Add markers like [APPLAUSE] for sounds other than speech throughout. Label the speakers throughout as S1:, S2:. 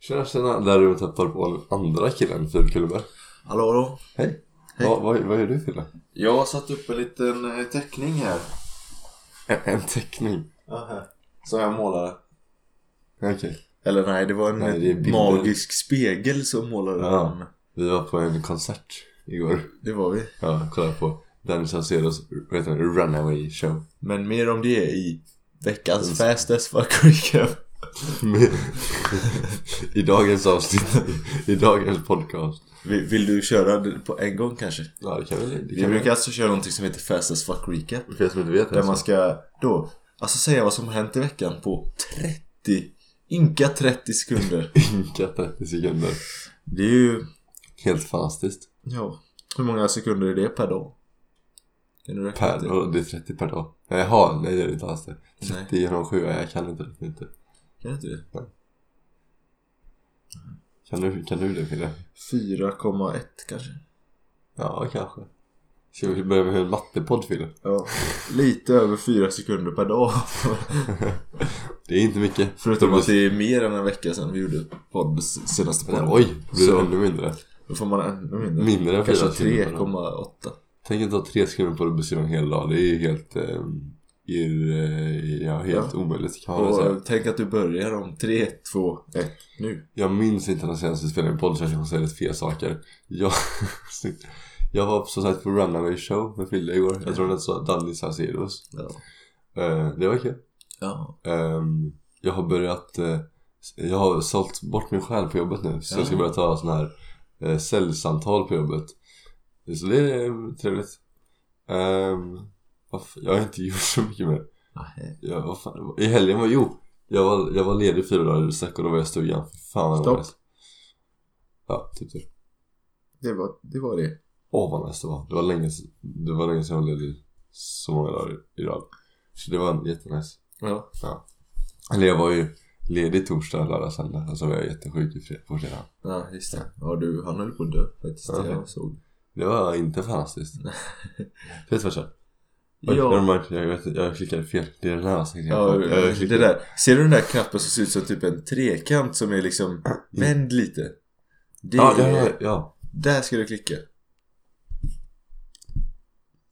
S1: Tjena tjena, där du och täppar på den andra killen, Filip Kullberg.
S2: Hallå hallå.
S1: Hej!
S2: Hej.
S1: Vad, vad, vad gör du Fille?
S2: Jag har satt upp en liten eh, teckning här.
S1: En, en teckning?
S2: Som jag målade.
S1: Okej.
S2: Eller nej, det var en
S1: Nej, det är bilder.
S2: magisk spegel som målade
S1: Ja.
S2: den.
S1: Vi var på en koncert igår.
S2: Det var vi.
S1: Ja, kollade på Dennis Saucedos, vad heter den? Runaway
S2: [LAUGHS]
S1: show.
S2: Men mer om det i veckans Fast as fuck recap.
S1: I dagens avsnitt, i dagens podcast.
S2: Vill, vill du köra det på en gång kanske?
S1: Ja, det kan väl... Det
S2: Vi
S1: kan
S2: brukar alltså köra någonting som heter Fast as fuck recap.
S1: För er som inte vet
S2: Där
S1: alltså.
S2: man ska då, alltså säga vad som har hänt i veckan på 30, ynka 30 [LAUGHS] sekunder.
S1: Inka 30 sekunder.
S2: Det är ju,
S1: Helt fantastiskt.
S2: ja, hur många sekunder är det per dag? Kan du räkna
S1: Per
S2: ut det?
S1: dag, det är 30 per dag. Jaha, nej det är det inte alls det. 30
S2: Nej.
S1: genom 7, jag kan inte räkna ut det.
S2: Kan du inte det?
S1: Kan du, kan du det Fille?
S2: 4,1 kanske.
S1: Ja, kanske. Ska vi börja med en mattepodd Fille?
S2: Ja, lite över 4 sekunder per dag. [LAUGHS]
S1: Det är inte mycket.
S2: Förutom att det är mer än en vecka sedan vi gjorde podd, senaste podden.
S1: Oj, blir det
S2: Så-
S1: ännu mindre?
S2: Då får man ännu mindre.
S1: Mindre än
S2: Kanske
S1: fyra sekunder per dag.
S2: 3,8.
S1: Tänk inte ha tre sekunder på dig att beskriva en hel dag. Det är ju helt... Eh, ir, eh, ja, helt
S2: Ja.
S1: omöjligt kan man väl säga.
S2: Och tänk att du börjar om 3, 2, 1 nu.
S1: Jag minns inte den senaste spelningen i podd så jag kanske säger lite fel saker. Jag, [LAUGHS] jag var som sagt på Runaway Show med Fille igår. Jag tror den hette Danny Saucedos.
S2: Ja.
S1: Eh, det var kul.
S2: ja.
S1: Ehm, jag har börjat, eh, jag har sålt bort min själ på jobbet nu så jag ska
S2: Ja.
S1: börja ta sådana här eh, säljsamtal på jobbet. Så det är eh, trevligt. Ehm, vad f- jag har inte [LAUGHS] gjort så mycket mer.
S2: Nej.
S1: Jag, vad fan, I helgen var jo, jag var, jag var ledig fyra dagar i sträck och då var jag i stugan. Fy Fan vad det var
S2: Stopp.
S1: nice. Ja, typ det.
S2: Det var det. Var det.
S1: Åh vad nice det var. Det var länge, s- det var länge sedan jag var ledig så många dagar i i rad. Så det var jättenice.
S2: Ja.
S1: Eller jag var ju ledig torsdag, lördag, söndag. Alltså var jag jättesjuk i fred- på fredag.
S2: ja, just det. Ja, du, han höll på att dö faktiskt.
S1: Ja.
S2: Jag såg.
S1: Det var inte fantastiskt. [LAUGHS] Vet du vad jag kör? Oj,
S2: Ja,
S1: nevermind. jag, vet, jag klickade fel. Det är den här avsnittet.
S2: ja,
S1: jag, jag
S2: det
S1: klickade-
S2: där. Ser du den där knappen som ser ut som typ en trekant som
S1: [CLEARS THROAT]
S2: är liksom vänd lite? Det
S1: Ja, ja,
S2: är-
S1: ja, ja.
S2: Där ska du klicka.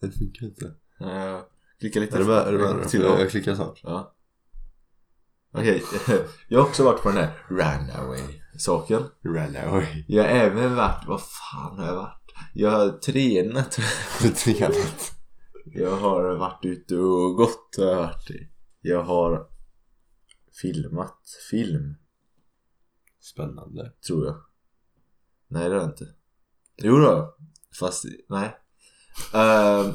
S1: Det funkar inte.
S2: Ja, klicka lite
S1: Är det bara, är det bara,
S2: till.
S1: jag, jag klickar snart.
S2: Ja. Okej, [LAUGHS] jag har också varit på den här runaway saken.
S1: Run away.
S2: Jag har även varit, vad fan har jag varit? Jag har tränat.
S1: [LAUGHS] Någonting annat.
S2: Jag har varit ute och gått har jag varit. i. Jag har filmat film,
S1: Spännande.
S2: tror jag. Nej, det har jag inte. Jo då, fast nej. Ehm,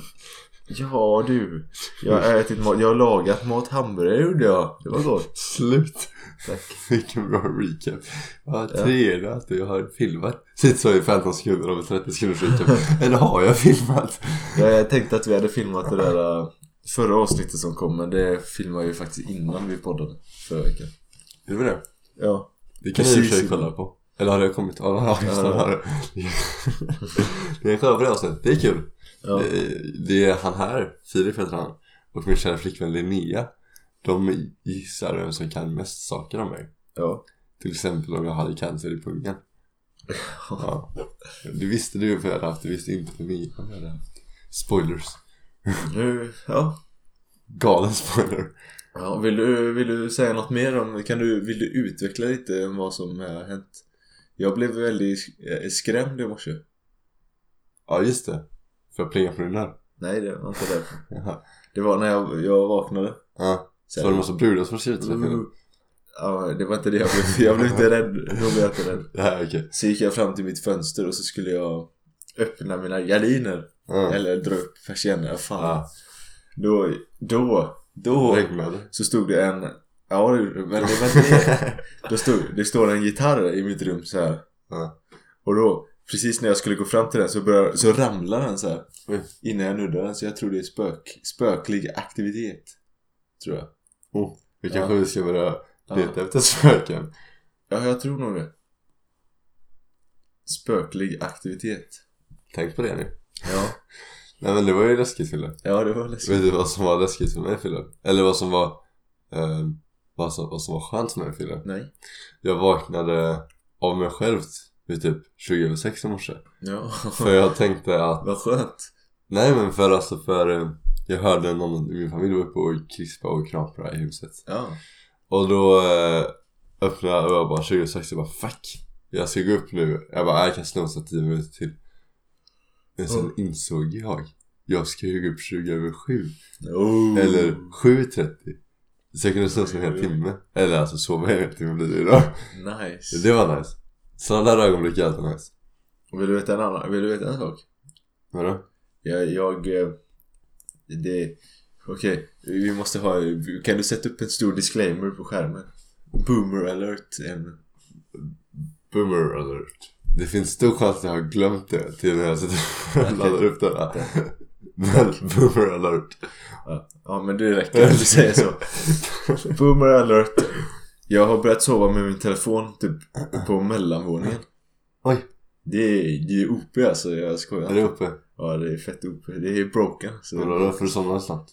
S2: ja du, jag har ätit mat, jag har lagat mat, hamburgare gjorde jag. Det var gott.
S1: Slut.
S2: Tack.
S1: [LAUGHS] Vilken bra recap. Jag har tränat och jag har filmat. Sitt så i 15 sekunder om 30 sekunders recap. Eller har jag filmat?
S2: Jag tänkte att vi hade filmat det där äh, förra avsnittet som kom men det filmade vi faktiskt innan vi poddade förra veckan.
S1: Gjorde det?
S2: Ja.
S1: Det kan ni i och för sig
S2: Precis.
S1: kolla på. Eller har det kommit? Ja, just det. har det. Ni kan kolla på det avsnittet. Det är kul.
S2: Ja.
S1: Det- Det är han här, Filip heter han, och min kära flickvän Linnea. De gissar vem som kan mest saker om mig.
S2: ja.
S1: Till exempel om jag hade cancer i pungen. Ja. Det visste du för jag hade haft, det visste inte för mig om jag hade haft. Spoilers.
S2: Nu, ja.
S1: Galen spoiler.
S2: ja vill, du, vill du säga något mer om, kan du, vill du utveckla lite om vad som har hänt? Jag blev väldigt sk- eh, skrämd i morse.
S1: Ja, just det. Får jag plinga på din här?
S2: Nej det var inte därför.
S1: [LAUGHS] Jaha.
S2: Det var när jag, jag vaknade.
S1: Ja.
S2: Så
S1: Så var det en massa brudar som skrev till dig
S2: Mm.
S1: Filip?
S2: Ja, det var inte det jag blev. [LAUGHS] Jag blev inte rädd. Då blev jag inte rädd.
S1: Ja, okej.
S2: Så gick jag fram till mitt fönster och så skulle jag öppna mina gardiner.
S1: Ja.
S2: Eller dra upp persiennerna, fan.
S1: Ja.
S2: Då, då, då
S1: Regnade.
S2: så stod det en... Ja, det gjorde det, men det var inte det. Då stod, det står en gitarr i mitt rum så här.
S1: Ja.
S2: Och då, precis när jag skulle gå fram till den så, började, så ramlar den så här.
S1: Oj.
S2: Innan jag nuddar den, så jag tror det är spök, spöklig aktivitet. Tror jag.
S1: Oh, vi
S2: Ja.
S1: kanske ska börja leta
S2: Ja.
S1: efter spöken.
S2: ja, jag tror nog det. Spöklig aktivitet.
S1: Tänk på det nu.
S2: Ja,
S1: Nej men det var ju läskigt Fille.
S2: ja det var läskigt.
S1: Vet du vad som var läskigt för mig Fille? Eller vad som var, eh, vad, som, vad som var skönt för mig Fille?
S2: Nej.
S1: Jag vaknade av mig själv vid typ 20 över sex i morse.
S2: Ja.
S1: För jag tänkte att,
S2: Vad skönt.
S1: nej men för alltså för eh, jag hörde någon i min familj var uppe och krispa och knapra i huset.
S2: Ja.
S1: Och då eh, öppnade jag och jag bara 2006 jag bara fuck Jag ska gå upp nu Jag bara jag kan snosa 10 minuter till Men sen
S2: Mm.
S1: insåg jag Jag ska ju gå upp 20 över 7
S2: Oh.
S1: Eller 7.30 Så jag kunde snosa en hel timme Eller alltså sova en hel timme blir det idag
S2: Nice.
S1: Det var nice Sådana där ögonblick är alltid nice
S2: Vill du veta en annan? Vill du veta en sak?
S1: Vadå?
S2: Jag, jag eh, det, okej, vi måste ha, kan du sätta upp en stor disclaimer på skärmen? Boomer alert, en,
S1: Boomer alert Det finns stor chans att jag har glömt det till när jag sitter och laddar upp den här [LAUGHS] Men boomer alert [LAUGHS]
S2: ja men det räcker att du säger så. Boomer alert. Jag har börjat sova med min telefon typ på mellanvåningen.
S1: Oj.
S2: Det är, det är OP alltså, jag
S1: Är
S2: skojar.
S1: det uppe?
S2: Ja det är fett OP, det är broken. Så.
S1: Vadå? Därför du somnade snabbt?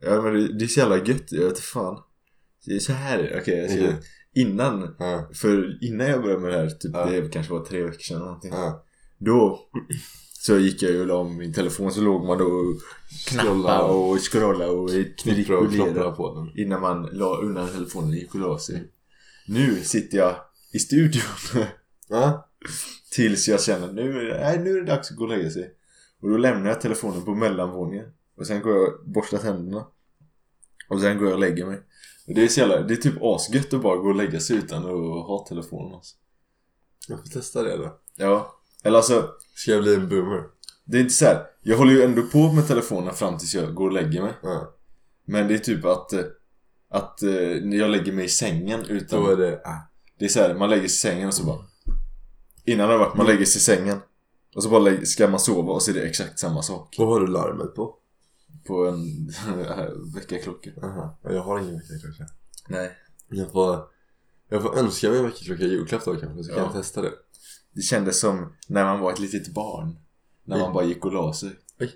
S2: Ja men det, det är så jävla gött, jag vet inte fan. Det är så här, okej jag ska,
S1: Okej.
S2: innan
S1: Ja,
S2: För innan jag började med det här, typ
S1: Ja.
S2: det kanske var tre veckor sedan eller någonting.
S1: ja
S2: Då så gick jag ju och la om min telefon så låg man då och knappade
S1: och
S2: och scrollade och
S1: knipprade och knopprade
S2: manipulerade
S1: på den.
S2: Innan man la undan telefonen och gick och la sig. Nu sitter jag i studion
S1: Ja.
S2: tills jag känner nu, är det- nej, nu är det dags att gå och lägga sig. Och då lämnar jag telefonen på mellanvåningen. Och sen går jag och borstar tänderna. Och sen går jag och lägger mig. Och det är så jävla, det är typ asgött att bara gå och lägga sig utan att ha telefonen alltså.
S1: Jag får testa det då.
S2: Ja, eller alltså
S1: Ska jag bli en boomer?
S2: det är inte så här. Jag håller ju ändå på med telefonen fram tills jag går och lägger mig.
S1: Ja.
S2: Men det är typ att eh, att eh, när jag lägger mig i sängen utan
S1: Då är det... ah.
S2: det är så här, man lägger sig i sängen och så bara innan det har varit man lägger sig i sängen och så bara lägger, ska man sova och så är det exakt samma sak
S1: Vad har du larmet på?
S2: på en [LAUGHS] väckarklocka.
S1: Aha. Ja, Jag har ingen väckarklocka.
S2: Nej.
S1: Jag får... Jag får önska mig en väckarklocka i julklapp då kanske, så kan
S2: Ja.
S1: jag testa det.
S2: Det kändes som när man var ett litet barn. När man
S1: Oj.
S2: bara gick och la sig.
S1: Oj.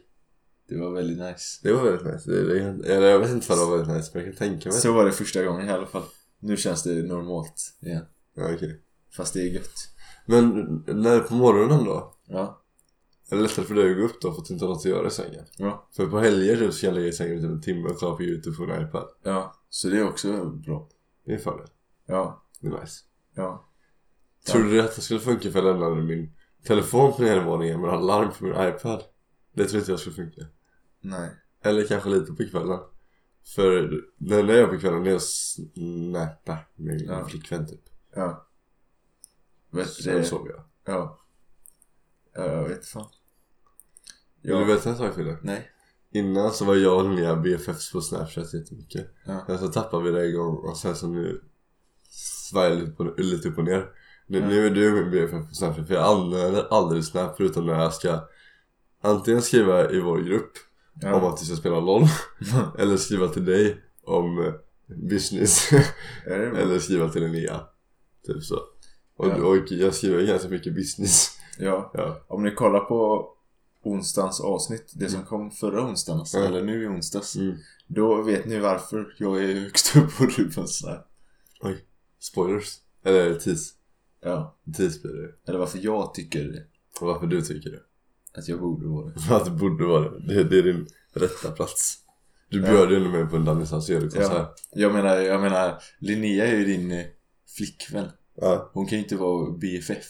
S2: Det var väldigt nice.
S1: Det var väldigt nice. Det, det, eller jag vet inte vad det var väldigt nice, men jag kan tänka mig.
S2: Så var det första gången i alla fall. Nu känns det normalt igen.
S1: Ja, okej.
S2: Fast det är gött.
S1: Men när på morgonen då?
S2: Ja.
S1: Är det lättare för dig att gå upp då för att du inte har något att göra i sängen?
S2: Ja.
S1: För på helger typ ska jag ligga i sängen i typ en timme och kolla på YouTube på en iPad.
S2: Ja, så det är också bra.
S1: Det är en fördel.
S2: Ja,
S1: Det är nice.
S2: ja.
S1: Tror du att det skulle funka för jag lämnade min telefon på nedervåningen men hade larm på min iPad? Det tror inte jag skulle funka.
S2: Nej.
S1: Eller kanske lite på kvällen. För det enda jag gör på kvällen det är att snappa med min
S2: Ja.
S1: flickvän typ.
S2: Ja. Vet
S1: Sen
S2: det...
S1: sover jag.
S2: Ja. Ja, Jag vet fan.
S1: Vill du veta en sak Fille?
S2: Nej.
S1: Innan så var jag och Linnea BFFs på Snapchat jättemycket.
S2: Ja.
S1: Sen så tappade vi det igång och sen så nu svajar det lite, på- lite upp och ner. Nu,
S2: Ja.
S1: nu är du min BFF på Snapchat för jag använder aldrig Snap förutom när jag ska antingen skriva i vår grupp om
S2: Ja.
S1: att vi ska spela LOL [LAUGHS] Eller skriva till dig om eh, business [LAUGHS]
S2: Är det bra?
S1: Eller skriva till Linnea Typ så och,
S2: Ja.
S1: och jag skriver ganska mycket business [LAUGHS]
S2: Ja.
S1: Ja,
S2: Om ni kollar på onsdagens avsnitt, det som kom förra onsdagen, alltså,
S1: Mm. Ja.
S2: eller nu i onsdags.
S1: Mm.
S2: Då vet ni varför jag är högst upp på Rubens där.
S1: spoilers Eller tis
S2: Ja.
S1: Tis blir det
S2: Eller varför jag tycker
S1: Och varför du tycker det [LAUGHS]
S2: att jag borde vara det.
S1: För att det borde vara det Det, det är din rätta plats Du
S2: Ja.
S1: bjöd ju ändå mig på en Danny Saucedo-konsert
S2: Jag menar, jag menar, Linnea är ju din eh, flickvän.
S1: ja.
S2: Hon kan ju inte vara BFF.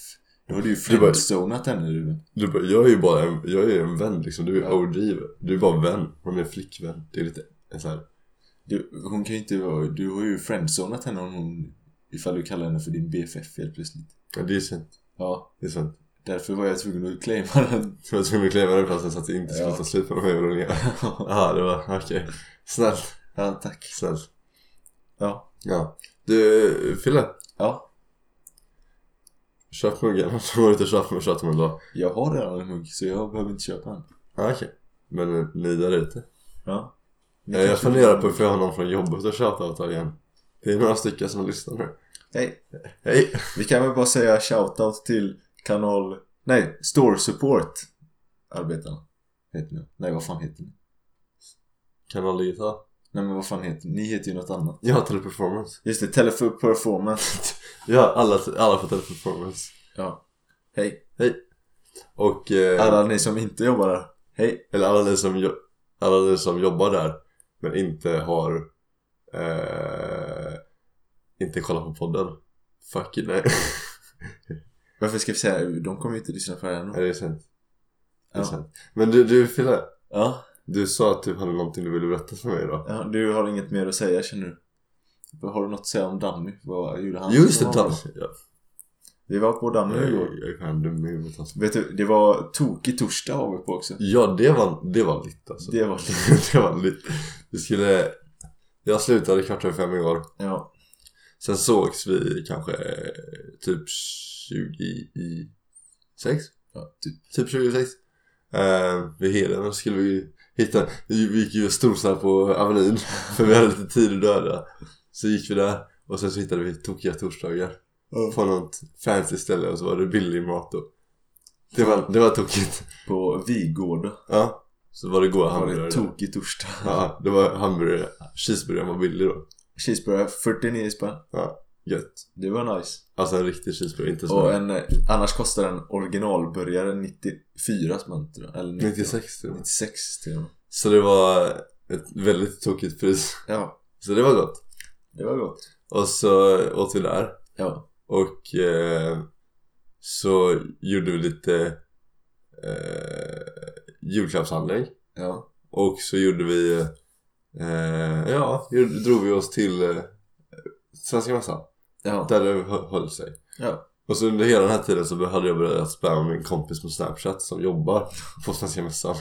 S2: Då har du ju
S1: Det var-
S2: friendzonat henne Ruben.
S1: Du bara, jag är ju bara en, jag är en vän liksom Du är
S2: Ja.
S1: OG Du är bara en vän Hon är en flickvän Det är lite så här.
S2: Du, hon kan ju inte vara... Du har ju friendzonat henne om hon... Ifall du kallar henne för din BFF helt plötsligt.
S1: Ja, det är sant
S2: Ja,
S1: Det är sant
S2: därför var jag tvungen att claima den.
S1: Så jag var tvungen att kliva den platsen så att det inte skulle
S2: Ja.
S1: ta slut på mig och Linnea Jaha, det var okej. Snällt,
S2: [LAUGHS] ja, tack.
S1: snällt.
S2: Ja.
S1: Ja. Du, Fille.
S2: Ja,
S1: Köp [LAUGHS] muggen. Så går du till köpa och köper en dag.
S2: jag har redan en mugg så jag behöver inte köpa en.
S1: Ja, okej. Men eh, ni där ute. Eh,
S2: Ja.
S1: Jag, jag funderar på om jag har någon från jobbet att köpa åt här igen. Det är några stycken som lyssnar nu.
S2: Nej,
S1: Hej!
S2: vi kan väl bara säga shoutout till kanal... Nej, Store Support. Arbetarna. Heter ni. Nej, vad fan heter ni?
S1: Kanal Digital.
S2: Nej men vad fan heter Ni heter ju något annat.
S1: Ja, teleperformance.
S2: Just det, Teleperformance.
S1: Ja, alla, alla får teleperformance.
S2: [LAUGHS] Ja. Hej.
S1: Och... Eh,
S2: Alla ni som inte jobbar där. Hej.
S1: Eller alla ni som, jo- alla ni som jobbar där men inte har... Eh, inte kollat på podden. Fuck it, nej.
S2: Varför ska vi säga? De kommer ju inte lyssna på det här
S1: Nej,
S2: ändå.
S1: det är sant. Det är
S2: Ja.
S1: sant. Men du, du Fille.
S2: Ja.
S1: Du sa att du hade någonting du ville berätta för mig idag.
S2: ja. Du har inget mer att säga känner du? Har du något att säga om Danny? Vad gjorde han?
S1: Just det,
S2: Vad var
S1: Danny. Ja,
S2: Vi var på Danny
S1: jag,
S2: igår.
S1: jag är fan dum i huvudet alltså.
S2: Vet du, det var tokig torsdag var vi på också.
S1: Ja, det var, det var lite alltså.
S2: Det var
S1: [LAUGHS] det var lite. Vi skulle... Jag slutade kvart över fem igår.
S2: Ja.
S1: Sen sågs vi kanske eh, typ 20 i sex?
S2: ja typ.
S1: Typ 26. Uh, vid Heden och skulle vi hitta... Vi, vi gick ju och strosade på Avenyn [LAUGHS] för vi hade lite tid att döda. Så gick vi där och sen så hittade vi tokiga torsdagar. På något fancy ställe och så var det billig mat då. Det var, det var tokigt.
S2: På Vigårda.
S1: Ja. Så var det goda
S2: Var
S1: hamburgare.
S2: det
S1: där.
S2: tokig torsdag.
S1: Ja, det var hamburgare. Cheeseburgaren var billig då.
S2: Cheeseburgare 49 spänn.
S1: Gött.
S2: Det var nice.
S1: Alltså en riktig cheeseburgare, inte så.
S2: Och en, eh, annars kostar en originalburgare 94 spänn tror jag. Eller 90,
S1: 96 till och med.
S2: 96 till och med.
S1: Så det var ett väldigt tokigt pris.
S2: Ja,
S1: Så det var gott.
S2: det var gott.
S1: Och så åt vi där.
S2: Ja.
S1: Och eh, så gjorde vi lite eh, julklappshandling.
S2: Ja.
S1: Och så gjorde vi, eh, ja, gjorde, drog vi oss till eh, Svenska Mässan.
S2: Ja.
S1: Där det hö- höll sig.
S2: Ja.
S1: Och så under hela den här tiden så hade jag börjat spamma min kompis på Snapchat som jobbar på Svenska Mässan.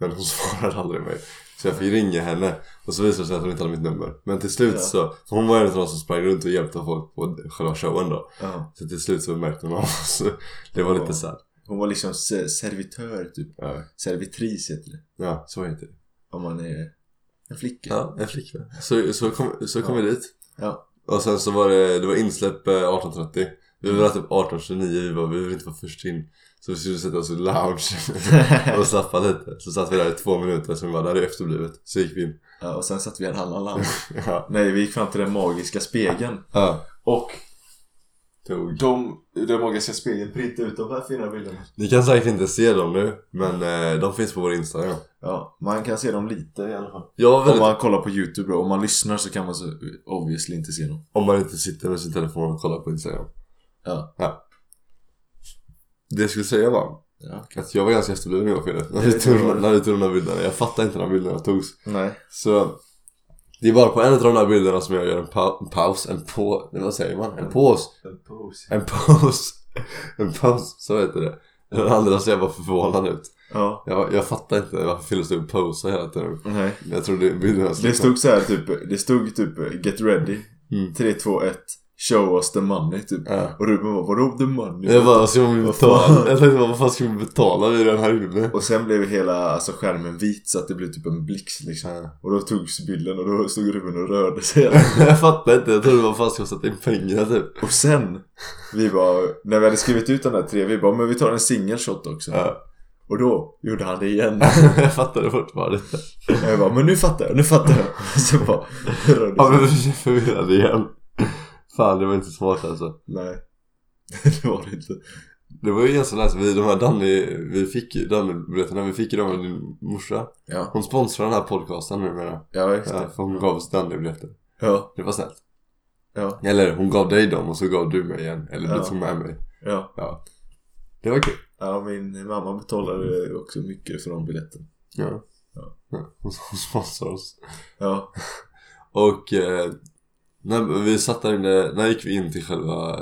S1: Men hon svarade aldrig mig. Så jag fick ringa henne och så visade det sig att hon inte hade mitt nummer. Men till slut
S2: Ja.
S1: så, för hon var en av de som sprang runt och hjälpte folk på själva showen då.
S2: ja.
S1: Så till slut så märkte hon av oss. [LAUGHS] Det var lite sad.
S2: Hon var liksom se- servitör typ.
S1: Ja,
S2: Servitris heter det.
S1: ja så heter det.
S2: Om man är en flicka.
S1: Ja, en flickvän. Så, så kom, så kom vi dit.
S2: Ja.
S1: Och sen så var det, det var insläpp eh, 18.30. Vi var där typ 18.29, vi bara, vi vill inte vara först in. Så vi skulle sätta oss i lounge. [LAUGHS] och slappa lite. Så satt vi där i två minuter, sen var där det efterblivet. Så gick vi in.
S2: [LAUGHS] ja. Och sen satt vi i en annan land.
S1: Ja.
S2: Nej, vi gick fram till den magiska spegeln.
S1: ja.
S2: Och
S1: Tog.
S2: de, den magiska spegeln printade ut de här fina bilderna.
S1: Ni kan säkert inte se dem nu, men eh, de finns på vår Instagram.
S2: Ja, man kan se dem lite i alla fall.
S1: Jag var
S2: Om
S1: väldigt... Om
S2: man kollar på youtube då, om man lyssnar så kan man så obviously inte se någon
S1: man... inte sitter med sin telefon och kollar på Instagram.
S2: Ja,
S1: Det jag skulle säga var
S2: ja.
S1: att jag var ganska efterbliven i år Fille. När
S2: Jag
S1: vi
S2: vet
S1: tog
S2: inte vad det-
S1: när vi tog de här bilderna. Jag fattar inte när bilderna togs.
S2: Nej
S1: Så det är bara på en av de här bilderna som jag gör en, pa- en paus, en på... nej, Vad säger man? En paus.
S2: En pose
S1: En paus. [LAUGHS] En paus, så heter det. Den andra ser jag bara förvånad ut.
S2: Ja,
S1: Jag, jag fattar inte varför Phil stod och posade hela tiden.
S2: nej
S1: Jag trodde bilderna skulle...
S2: Det stod så här typ, det stod typ 'Get ready'
S1: Mm.
S2: 3, 2, 1 Show us the money typ
S1: Ja.
S2: Och Ruben var 'Vadå the money?'
S1: Jag bara, ska man
S2: Vad
S1: betala?
S2: fan?
S1: Jag tänkte bara, vad fan ska vi betala vid den här inne?
S2: Och sen blev hela alltså, skärmen vit så att det blev typ en blixt liksom
S1: Ja.
S2: Och då togs bilden och då stod Ruben och rörde sig
S1: [LAUGHS] [LAUGHS] Jag fattar inte, jag trodde man fan skulle sätta in pengar typ.
S2: Och sen, vi bara, när vi hade skrivit ut de där tre, vi bara 'Men vi tar en single shot också'
S1: Ja. [LAUGHS]
S2: Och då gjorde han det igen
S1: Jag fattade fortfarande inte.
S2: Och Jag bara, men nu fattar jag, nu fattar jag. [LAUGHS] Så bara, rörde
S1: Ja men
S2: sig.
S1: vi blev förvirrade igen. Fan det var inte smart alltså.
S2: Nej. [LAUGHS] Det var det inte.
S1: Det var ju ganska nice, vi, de här Danny, vi fick ju Danny-biljetterna, vi fick ju dem av din morsa.
S2: Ja,
S1: Hon sponsrar den här podcasten numera.
S2: ja just
S1: Ja,
S2: det.
S1: för hon gav oss Danny-biljetter.
S2: Ja,
S1: Det var snällt.
S2: ja,
S1: Eller hon gav dig dem och så gav du mig en. Eller
S2: Ja.
S1: du tog med mig.
S2: ja.
S1: Det var kul.
S2: Ja, min mamma betalade också mycket för de biljetten.
S1: Ja.
S2: Ja.
S1: Ja, Hon [LAUGHS] hon sponsrar oss.
S2: Ja,
S1: Och eh, när vi satt där inne, när gick vi in till själva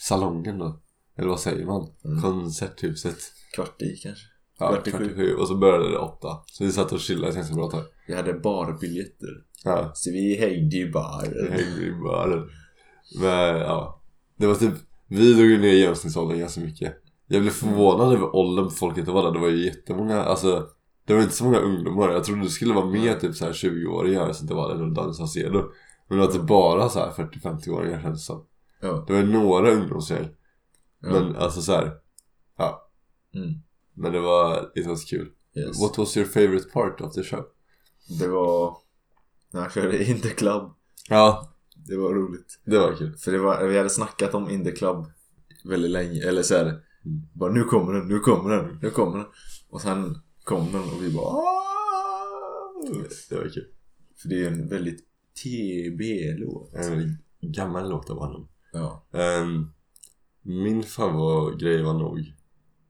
S1: salongen då? Eller vad säger man?
S2: Mm.
S1: Konserthuset.
S2: kvart i kanske.
S1: Ja,
S2: Kvart i
S1: 47.
S2: sju.
S1: Och så började det åtta. Så vi satt och chillade ganska bra tag.
S2: Vi hade barbiljetter.
S1: Ja.
S2: Så vi hängde i
S1: Vi
S2: baren.
S1: hängde i baren. Men ja. Det var typ, vi drog ju ner genomsnittsåldern ganska mycket. Jag blev förvånad över åldern på folket det var där. Det var ju jättemånga, alltså. Det var inte så många ungdomar. Jag trodde det skulle vara mer typ så här 20-åringar som det var där runt Danny Saucedo. Men det var typ bara så här 40-50-åringar kändes det som.
S2: Ja.
S1: Det var några ungdomsgäng.
S2: ja.
S1: Men alltså så här. Ja.
S2: Mm.
S1: Men det var, it was kul.
S2: Yes.
S1: What was your favorite part of the show?
S2: Det var... När han körde In the Club.
S1: Ja,
S2: Det var roligt.
S1: det var kul.
S2: För det var, vi hade snackat om In the Club väldigt länge. Eller så här,
S1: Mm.
S2: bara nu kommer den, nu kommer den, nu kommer den. Och sen kom den och vi bara "Aah!"
S1: Det var kul.
S2: För det är ju en väldigt TB-låt.
S1: En gammal låt av honom.
S2: Ja.
S1: Ehm, min favoritgrej var nog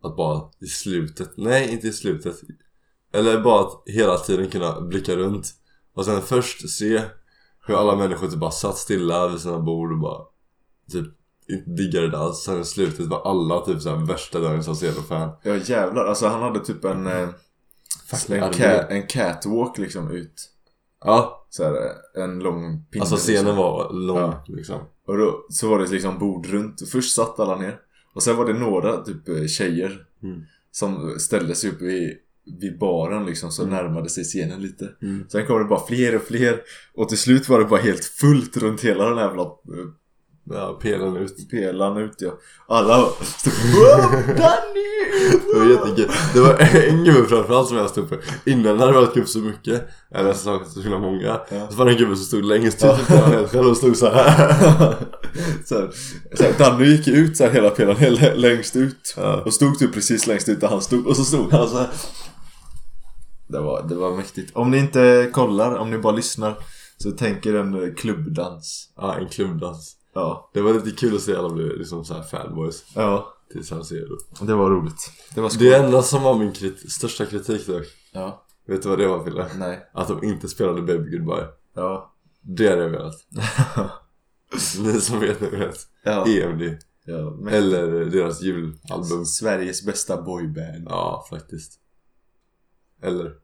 S1: att bara i slutet, nej inte i slutet. Eller bara att hela tiden kunna blicka runt. Och sen först se hur alla människor typ bara satt stilla vid sina bord och bara typ inte diggade det alls. Sen i slutet var alla typ såhär värsta Dagens Alcedo-fan.
S2: Ja jävlar, alltså han hade typ en, eh,
S1: Fucking
S2: en,
S1: armé.
S2: ca- en catwalk liksom ut.
S1: Ja,
S2: Så här, eh, en lång pinne.
S1: alltså
S2: liksom.
S1: scenen var lång
S2: Ja.
S1: liksom.
S2: Och då så var det liksom bord runt. Först satt alla ner. Och sen var det några typ eh, tjejer.
S1: Mm.
S2: Som ställde sig upp vid, vid baren liksom. Så
S1: Mm.
S2: närmade sig scenen lite.
S1: Mm.
S2: Sen kom det bara fler och fler. Och till slut var det bara helt fullt runt hela den här jävla eh,
S1: Ja, pelen ut.
S2: pelaren ut ja. Alla stod
S1: [LAUGHS]
S2: Wow, Danny!
S1: Det var jättekul. Det var [LAUGHS] en gubbe framförallt som jag stod på. Innan hade det varit typ så mycket. Eller så, så himla många.
S2: Ja.
S1: Så var det en gubbe som stod längst ut. utan han helt Själv och stod så här.
S2: [LAUGHS] så här, så här, Danny gick ju ut så här hela pelaren hela- längst ut
S1: Ja.
S2: och stod typ precis längst ut där han stod och så stod han så här. Det var, det var mäktigt. Om ni inte kollar, om ni bara lyssnar så tänker en eh, klubbdans.
S1: Ja, en klubbdans.
S2: Ja,
S1: Det var lite kul att se alla bli liksom så här fanboys
S2: ja,
S1: till San Siro.
S2: det var roligt. Det var skoj.
S1: Det enda som var min krit- största kritik dock.
S2: Ja,
S1: Vet du vad det var Fille?
S2: nej,
S1: Att de inte spelade Baby Goodbye.
S2: ja.
S1: Det hade jag
S2: [LAUGHS]
S1: velat. Ni som vet, ni vet.
S2: ja.
S1: EMD.
S2: ja men-
S1: Eller deras julalbum.
S2: Sveriges bästa boyband.
S1: Ja, faktiskt. Eller?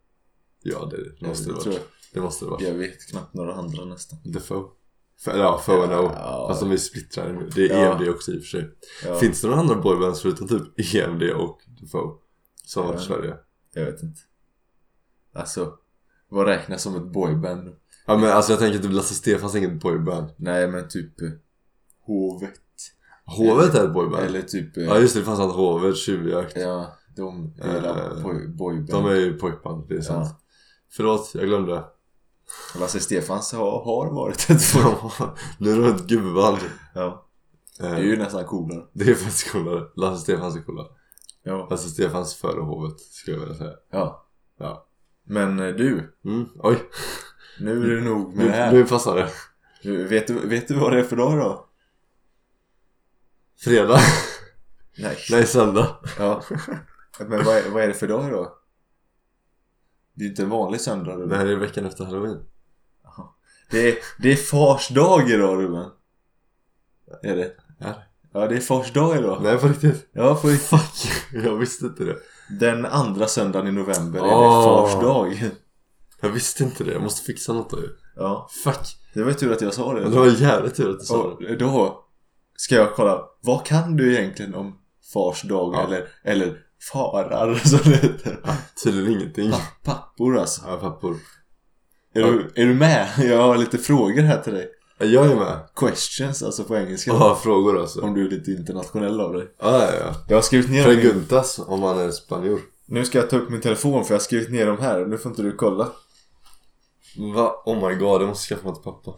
S1: Ja, det, det måste det
S2: jag,
S1: vara.
S2: tror
S1: Det måste det vara.
S2: jag, jag vet knappt några andra nästan.
S1: Defoe. F- ja, Foe and O.
S2: Ja.
S1: Fast de är splittrade nu. Det är
S2: Ja.
S1: EMD också i och för sig.
S2: Ja,
S1: Finns det några andra boybands förutom typ EMD och Defoe? Som har varit i
S2: Ja.
S1: Sverige?
S2: Jag vet inte. Alltså, vad räknas som ett boyband?
S1: Ja men alltså jag tänker typ Lasse Stefans inget boyband.
S2: Nej men typ eh, Hovet
S1: Hovet är ett boyband.
S2: Eller typ eh,
S1: Ja just det, det fanns att Hovet, Tjuvjakt.
S2: Ja, de är
S1: Eh,
S2: väl boy, boyband
S1: De är ju pojkband, det är sant. Förlåt, jag glömde. [LAUGHS]
S2: Lasse Stefans har, har varit ett boy-
S1: nu är de ett gubband.
S2: Ja, det
S1: Eh,
S2: är ju nästan coolare
S1: Det är faktiskt coolare. Lasse Stefans är coolare.
S2: Ja,
S1: Lasse Stefans före hovet skulle jag vilja säga.
S2: ja.
S1: Ja.
S2: Men eh, du,
S1: Mm, oj.
S2: nu är det nog med det
S1: Mm. Nu,
S2: här
S1: nu passar det.
S2: du, vet, du, vet du vad det är för dag då?
S1: Fredag. [LAUGHS]
S2: Nej,
S1: Nej, söndag.
S2: Ja.
S1: [LAUGHS]
S2: Men vad är, vad är det för dag då? Det är ju inte en vanlig söndag
S1: Det
S2: Ruben
S1: här är veckan efter halloween.
S2: Det är, det är fars dag idag Ruben Är det?
S1: Ja.
S2: Ja det är fars dag idag
S1: Nej, på riktigt.
S2: Ja, för
S1: Fuck. Jag visste inte det.
S2: Den andra söndagen i november är det
S1: Åh.
S2: fars dag.
S1: Jag visste inte det. Jag måste fixa något då ju.
S2: Ja,
S1: Fuck.
S2: det var ju tur att jag sa
S1: Men det
S2: det.
S1: var jävligt tur att du sa det.
S2: Och då ska jag kolla, vad kan du egentligen om fars dag
S1: Ja.
S2: eller, eller farar [LAUGHS] som det heter?
S1: Tydligen ingenting.
S2: Pa- Pappor alltså.
S1: Ja, pappor.
S2: Är,
S1: Ja.
S2: du, är du med? [LAUGHS] Jag har lite frågor här till dig.
S1: Ja, Jag är med.
S2: Questions alltså på engelska.
S1: Jag har frågor alltså.
S2: Om du är lite internationell av dig.
S1: Ja, ja, ja.
S2: Jag har skrivit ner dem.
S1: Preguntas om man är spanjor.
S2: Nu ska jag ta upp min telefon för jag har skrivit ner dem här. Nu får inte du kolla.
S1: Va? Oh my god, jag måste skaffa mig till pappa.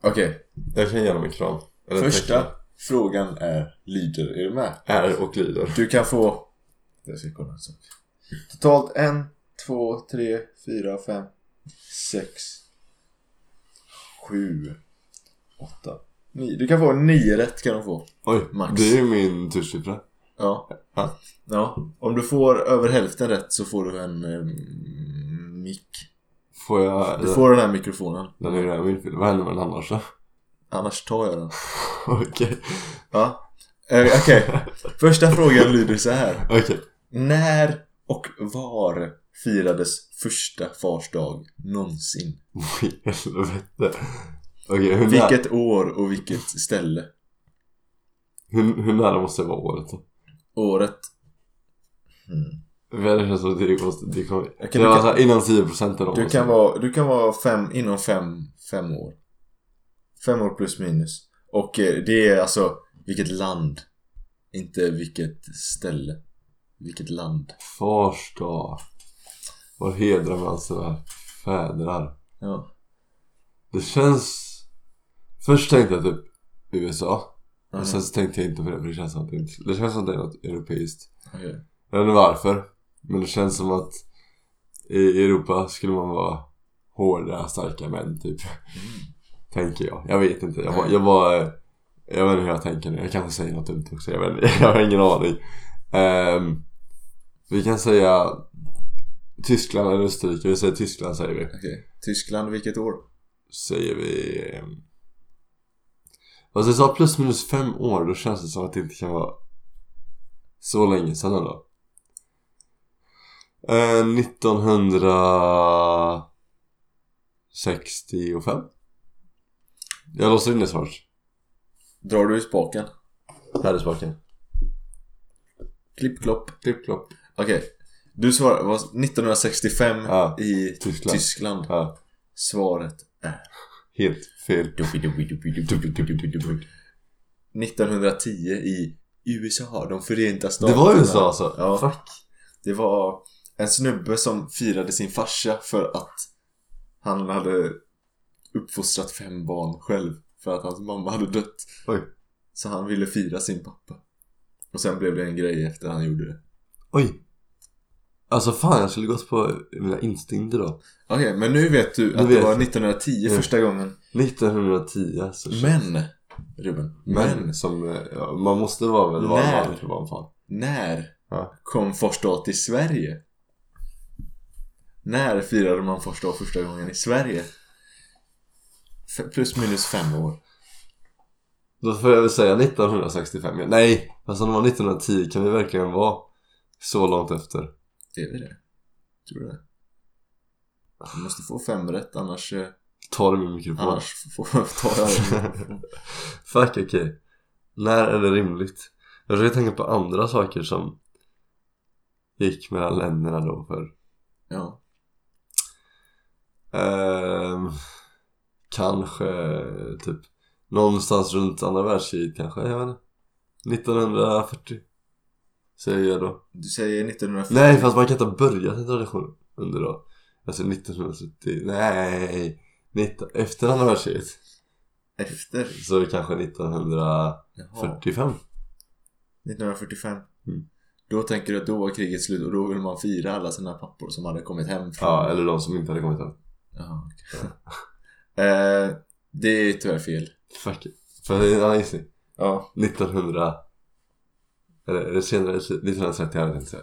S2: Okej.
S1: Jag kan ge honom en kram. Eller en
S2: Första
S1: teckning.
S2: frågan är lyder. Är du med?
S1: Är och lyder.
S2: Du kan få... Jag ska kolla en sak. Totalt en, två, tre, fyra, fem, sex, sju, åtta, nio. Du kan få nio rätt kan du få.
S1: Oj,
S2: Max.
S1: det är ju min tursiffra.
S2: Ja.
S1: Ja.
S2: ja. Om du får över hälften rätt så får du en mm, mick.
S1: Får jag...
S2: Du får den här mikrofonen.
S1: Den är ju min film. Vad händer med den annars då? [LAUGHS]
S2: Annars tar jag den.
S1: Okej.
S2: Ja. Eh, Okej. Första frågan lyder så här.
S1: Okej.
S2: När och var firades första fars dag någonsin?
S1: Oj, helvete. Okej, hur, nä-
S2: Vilket år och vilket ställe?
S1: hur, hur nära måste det vara året då?
S2: Året? Mm.
S1: Men Det känns som att det måste... Det kommer...
S2: Okej,
S1: det
S2: du,
S1: var
S2: kan,
S1: såhär innan liksom. 10% eller något
S2: du, kan vara, du kan vara fem, inom fem, fem år. Fem år plus minus. Och eh, det är alltså vilket land. Inte vilket ställe. Vilket land.
S1: Fars dag. Vad hedrar man sina fädrar?
S2: Ja.
S1: Det känns... Först tänkte jag typ USA.
S2: Mm.
S1: Och sen så tänkte jag inte på det för det känns som att det inte... Det känns som att det är något europeiskt.
S2: Okej.
S1: Jag vet inte varför. Men det känns som att i Europa skulle man vara hårda, starka män typ. Tänker jag. Jag vet inte. Jag bara... Jag, bara, jag vet inte hur jag tänker nu. Jag kanske säger något dumt också. Jag, vet, inte. [LAUGHS] jag har ingen aning. Ehm, vi kan säga Tyskland eller Österrike. Vi säger Tyskland säger vi.
S2: Okej. Tyskland, vilket år?
S1: säger vi... ehm, Fast jag sa plus minus fem år, då känns det som att det inte kan vara så länge sedan ändå. Eh, 1965? Jag låser in det snart.
S2: Drar du i spaken?
S1: Här är spaken.
S2: Klipp, klopp.
S1: Klipp, klopp.
S2: Okej. Du svarar, vad- 1965
S1: Ja.
S2: i
S1: Tyskland.
S2: Tyskland.
S1: Ja,
S2: Svaret är...
S1: helt fel.
S2: 1910 i USA, de förenta
S1: Det
S2: staterna.
S1: var USA alltså.
S2: Ja.
S1: Fuck.
S2: Det var en snubbe som firade sin farsa för att han hade uppfostrat fem barn själv för att hans mamma hade dött.
S1: Oj.
S2: Så han ville fira sin pappa. Och sen blev det en grej efter han gjorde det.
S1: Oj. Alltså fan, jag skulle gått på mina instinkter då.
S2: Okej, men nu vet du
S1: Nu
S2: att
S1: vet
S2: det var
S1: jag.
S2: 1910
S1: Mm.
S2: första gången.
S1: 1910 så
S2: Men, Ruben. Men,
S1: Men som, eh, ja, man måste vara väl vara man
S2: När?
S1: för att vara en fan.
S2: när
S1: Ja.
S2: kom Fors dag till Sverige? När firade man Fors dag första gången i Sverige? F- plus minus fem år.
S1: Då får jag väl säga 1965. Ja, Nej! Fast om det var 1910 kan vi verkligen vara så långt efter?
S2: Är vi det? Tror du det? Vi måste få fem rätt annars, eh,
S1: Ta det med mikrofon.
S2: annars får jag ta det
S1: [LAUGHS] Fuck okej. När är det rimligt? Jag försöker tänka på andra saker som gick mellan länderna då för
S2: Ja,
S1: Ehm, kanske typ någonstans runt andra världskriget kanske, jag vet inte. 1940 säger jag då.
S2: du säger 1940
S1: Nej fast man kan inte ha börjat en tradition under då. Alltså 1970, nej. 19, efter andra världskriget
S2: efter?
S1: så är det kanske 1945.
S2: Jaha, 1945
S1: Mm.
S2: Då tänker du att då var kriget slut och då vill man fira alla sina pappor som hade kommit hem från...
S1: Ja, eller de som inte hade kommit än.
S2: Jaha, okej. eh, Det är tyvärr fel
S1: Fuck it. För det är en annan gissning.
S2: Ja
S1: 1900... Eller är det senare? 1930 hade jag tänkt säga.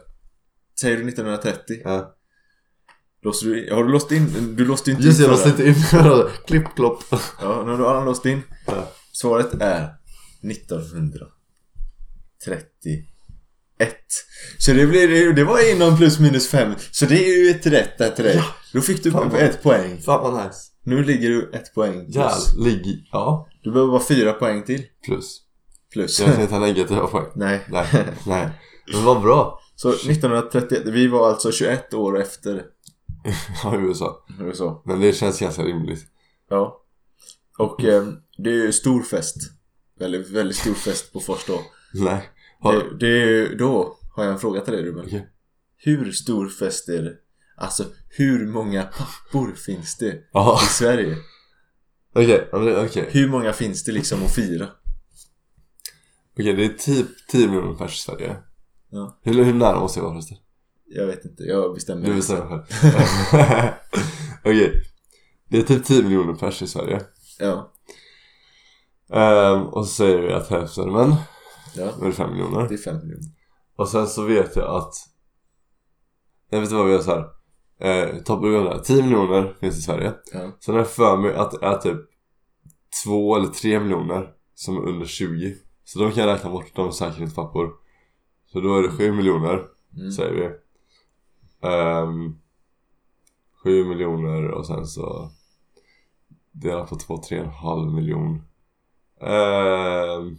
S2: Säger du 1930?
S1: Ja.
S2: Låser du in? Har du låst in? Du låste inte
S1: Just det,
S2: in
S1: jag måste
S2: förra.
S1: inte in förra. Klipp, klopp.
S2: Ja, nu har du alla låst in
S1: Ja.
S2: Svaret är 1931 Så det blir ju, det var inom plus minus fem Så det är ju ett rätt där till dig
S1: Ja.
S2: Då fick du
S1: Fan vad-
S2: ett poäng
S1: Fan vad nice.
S2: Nu ligger du ett poäng plus
S1: Jävlig. Ja.
S2: Du behöver bara fyra poäng till
S1: Plus.
S2: Plus
S1: Jag tänkte inte ha negativa poäng.
S2: [LAUGHS] Nej
S1: Nej, nej. Men vad bra.
S2: Så 1931, vi var alltså 21 år efter
S1: Ja, USA.
S2: eller så
S1: Men det känns ganska rimligt.
S2: Ja Och eh,
S1: Mm.
S2: det är ju stor fest Väldigt, väldigt stor fest på Fors då
S1: [LAUGHS] Nej. Har...
S2: Det, det är ju, då har jag en fråga till dig Ruben.
S1: Okej.
S2: Hur stor fest är det? Alltså hur många pappor finns det i
S1: Jaha.
S2: Sverige?
S1: Okej, ja, men det- okej.
S2: Hur många finns det liksom att fira?
S1: Okej, det är typ 10 miljoner pers i Sverige.
S2: Ja.
S1: Hur, hur nära måste jag vara förresten?
S2: Jag vet inte, jag bestämmer
S1: Du bestämmer själv. [LAUGHS] Okej. Det är typ 10 miljoner pers i Sverige.
S2: Ja,
S1: Ehm, och så säger vi att hälften är män.
S2: ja
S1: Då är det 5 miljoner.
S2: det är fem miljoner
S1: Och sen så vet jag att Jag vet inte vad vi gör såhär eh, Topp 100, 10 miljoner finns i Sverige
S2: ja.
S1: Sen har jag för mig att det är typ 2 eller 3 miljoner som är under 20 Så de kan jag räkna bort, de är säkert inte pappor Så då är det 7 miljoner
S2: Mm.
S1: säger vi Ehm, 7 miljoner och sen så Dela på 2, 3,5 miljon Ehm,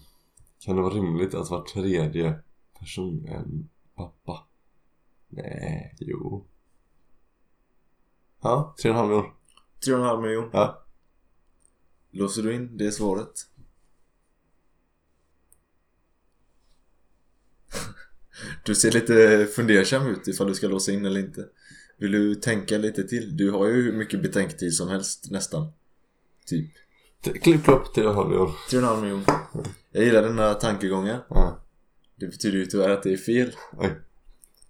S1: Kan det vara rimligt att var tredje person är en pappa? Nej, jo Ja, 3,5 miljon
S2: Tre och en halv miljon
S1: Ja.
S2: Låser du in det svaret? [LAUGHS] Du ser lite fundersam ut ifall du ska låsa in eller inte. Vill du tänka lite till? Du har ju hur mycket betänktid som helst nästan. Typ.
S1: T- Klipp klopp till Hollywood.
S2: 3,5 miljoner. Jag gillar dina tankegångar.
S1: Ja.
S2: Det betyder ju tyvärr att det är fel.
S1: Oj.